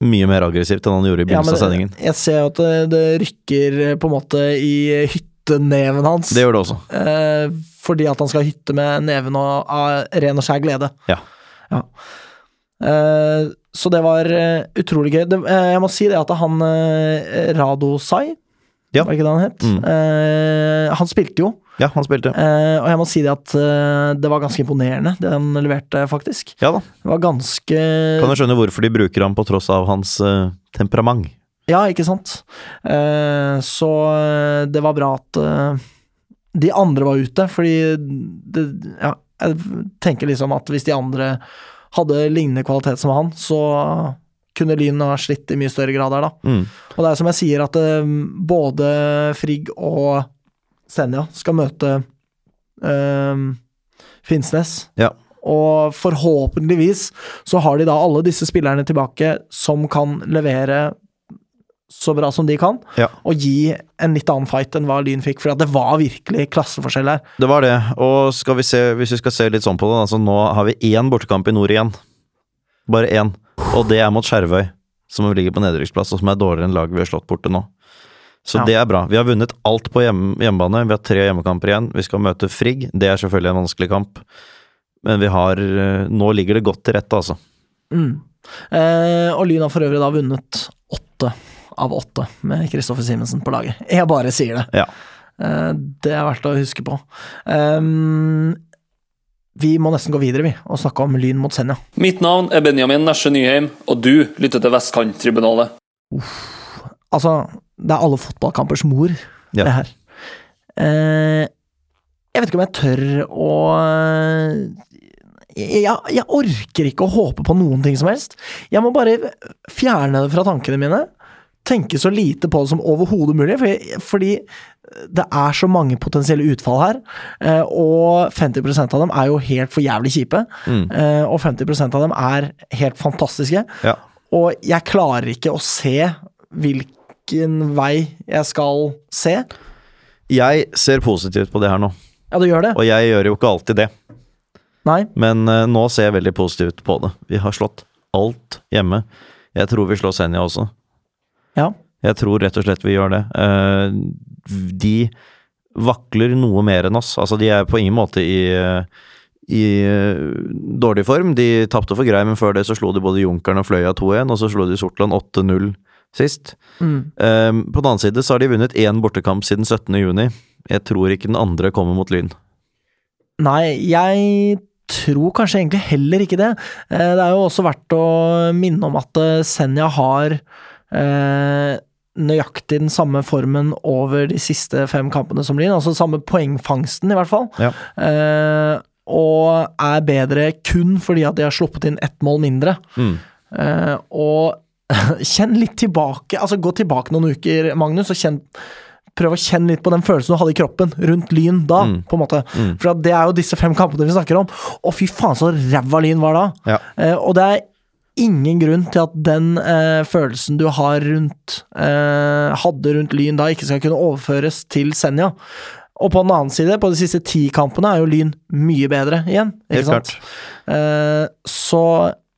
mye mer aggressivt enn han gjorde Ja, i begynnelsen men av sendingen. Jeg ser jo at det, det rykker eh, på en måte i hytteneven hans. Det gjør det også. eh, fordi at han skal hytte med neven og, av ren og skjær glede. Ja. Ja. Eh, så det var eh, utrolig gøy. Det, eh, jeg må si det at han eh, Rado Sai, Ja. Mm. var det ikke det han het? Eh, han spilte jo, Ja, han spilte. eh, og jeg må si det at eh, det var ganske imponerende, det han leverte, faktisk. Ja da. Det var ganske Kan jo skjønne hvorfor de bruker ham på tross av hans eh, temperament. Ja, ikke sant? Eh, så eh, det var bra at eh, de andre var ute, fordi det, ja, jeg tenker liksom at hvis de andre hadde lignende kvalitet som han, så kunne Lyn ha slitt i mye større grad der, da. Mm. Og det er som jeg sier, at eh, både Frigg og Senja skal møte eh, Finnsnes. Ja. Og forhåpentligvis så har de da alle disse spillerne tilbake som kan levere så bra som de kan, Ja. og gi en litt annen fight enn hva Lyn fikk, for det var virkelig klasseforskjell her. Det var det. Og skal vi se, hvis vi skal se litt sånn på det, da, så nå har vi én bortekamp i nord igjen. Bare én. Og det er mot Skjervøy, som ligger på nedrykksplass, og som er dårligere enn laget vi har slått borte nå. Så Ja. det er bra. Vi har vunnet alt på hjem, hjemmebane. Vi har tre hjemmekamper igjen. Vi skal møte Frigg. Det er selvfølgelig en vanskelig kamp. Men vi har eh, Nå ligger det godt til rette, altså. Mm. Eh, og Lyn har for øvrig da vunnet åtte av åtte med Kristoffer Simensen på laget. Jeg bare sier det. Ja. Eh, det er verdt å huske på. Ehm, vi må nesten gå videre, vi, og snakke om Lyn mot Senja. Mitt navn er Benjamin Nesje Nyheim, og du lytter til Vestkanttribunalet. Altså, det er alle fotballkampers mor, Ja. det her. Eh, jeg vet ikke om jeg tør å eh, jeg, jeg orker ikke å håpe på noen ting som helst. Jeg må bare fjerne det fra tankene mine. Tenke så lite på det som overhodet mulig, fordi, fordi det er så mange potensielle utfall her. eh, Og 50 av dem er jo helt for jævlig kjipe. eh, Og 50 av dem er helt fantastiske. Ja. Og jeg klarer ikke å se hvilken vei jeg skal se. Jeg ser positivt på det her nå, Ja, du gjør det? og jeg gjør jo ikke alltid det. Nei? Men eh, nå ser jeg veldig positivt på det. Vi har slått alt hjemme. Jeg tror vi slår Senja også. Ja. Jeg tror rett og slett vi gjør det. Eh, de vakler noe mer enn oss. Altså, de er på ingen måte i, eh, i eh, dårlig form. De tapte for Grei, men før det så slo de både Junkeren og Fløya 2-1, og så slo de Sortland 8-0 sist. Mm. Eh, på den annen side så har de vunnet én bortekamp siden 17. juni. Jeg tror ikke den andre kommer mot Lyn. Nei, jeg tror kanskje egentlig heller ikke det. Eh, Det er jo også verdt å minne om at eh, Senja har eh, nøyaktig den samme formen over de siste fem kampene som Lyn, altså samme poengfangsten, i hvert fall. Ja. Eh, og er bedre kun fordi at de har sluppet inn ett mål mindre. Mm. Eh, og kjenn litt tilbake, altså gå tilbake noen uker, Magnus, og kjenn prøv å kjenne litt på den følelsen du hadde i kroppen rundt Lyn da, på en måte. For at det er jo disse fem kampene vi snakker om. Å, fy faen, så ræva Lyn var da! Ja. Eh, og det er ingen grunn til at den eh, følelsen du har rundt eh, hadde rundt Lyn da, ikke skal kunne overføres til Senja. Og på den annen side, på de siste ti kampene, er jo Lyn mye bedre igjen. Helt Ikke sant? Eh, så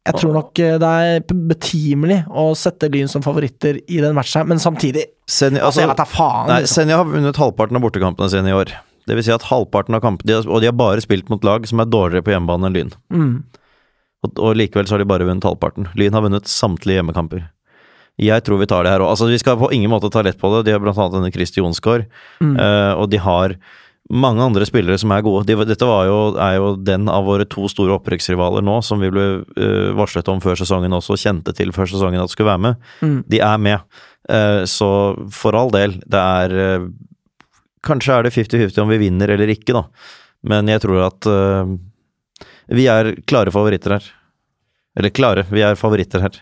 jeg tror nok eh, det er p- betimelig å sette Lyn som favoritter i den matchen, her, men samtidig Senja, Altså, altså, jeg vet da faen. nei, liksom. Senja har vunnet halvparten av bortekampene sine i år. Det vil si at halvparten av kampene de har- Og de har bare spilt mot lag som er dårligere på hjemmebane enn Lyn. Mm. Og, og likevel så har de bare vunnet halvparten. Lyn har vunnet samtlige hjemmekamper. Jeg tror vi tar det her òg. Altså, vi skal på ingen måte ta lett på det. De har blant annet denne Christer Jonsgaard, Mm. eh, og de har mange andre spillere som er gode. De, dette var jo, er jo den av våre to store opprykksrivaler nå, som vi ble eh, varslet om før sesongen også, kjente til før sesongen at skulle være med. Mm. De er med. Eh, så for all del, det er eh, Kanskje er det 50-50 om vi vinner eller ikke, da. Men jeg tror at eh, vi er klare favoritter her. Eller klare, vi er favoritter her.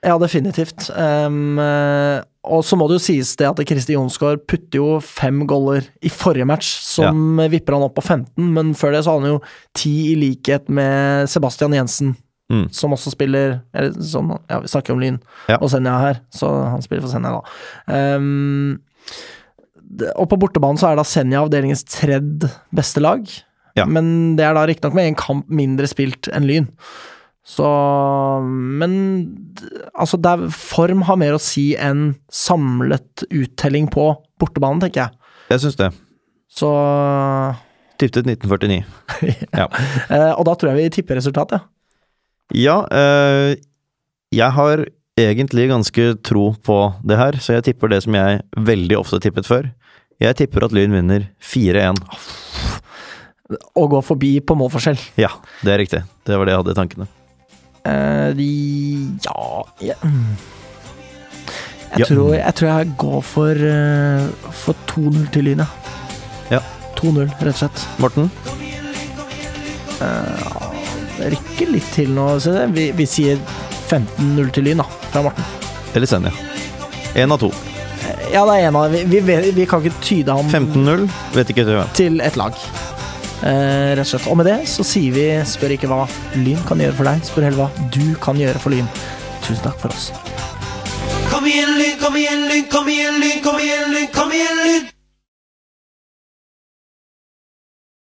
Ja, definitivt. Ehm, eh, og så må det jo sies det at Kristi Jonsgaard putter jo fem goller i forrige match, som eh, vipper han opp på 15, men før det så hadde han jo ti i likhet med Sebastian Jensen, Mm. som også spiller eller, som, Ja, vi snakker om Lyn Ja. og Senja her, så han spiller for Senja, da. Ehm, det- og på bortebanen så er da Senja avdelingens tredje beste lag, Ja. men det er da riktignok med en kamp mindre spilt enn Lyn. Så Men d- altså, det er, form har mer å si enn samlet uttelling på bortebanen, tenker jeg. Jeg syns det. Så Tiptet 1949. ja. eh, Og da tror jeg vi tipper resultatet, ja. ja eh, jeg har egentlig ganske tro på det her, så jeg tipper det som jeg veldig ofte tippet før. Jeg tipper at Lyn vinner 4-1. Og gå forbi på målforskjell. Ja, det er riktig. Det var det jeg hadde i tankene. Eh, de- ja jeg, mm. jeg, Ja. Tror, jeg tror jeg går for, eh, for 2-0 til Lyn, Ja. 2-0, rett og slett. Morten? Det rykker litt til nå. Så det- vi, vi sier 15-0 til Lyn, da, fra Morten. Eller Senja? Én av to. Ja, det er en av Vi, vi, vet- vi kan ikke tyde ham 15-0. Vet ikke hvem. til et lag. Eh, rett og slett. Og med det så sier vi spør ikke hva Lyn kan gjøre for deg, spør heller hva du kan gjøre for Lyn. Tusen takk for oss. Kom igjen, lyn, kom igjen, lyn, kom igjen, lyn, kom igjen, lyn, kom igjen, lyn.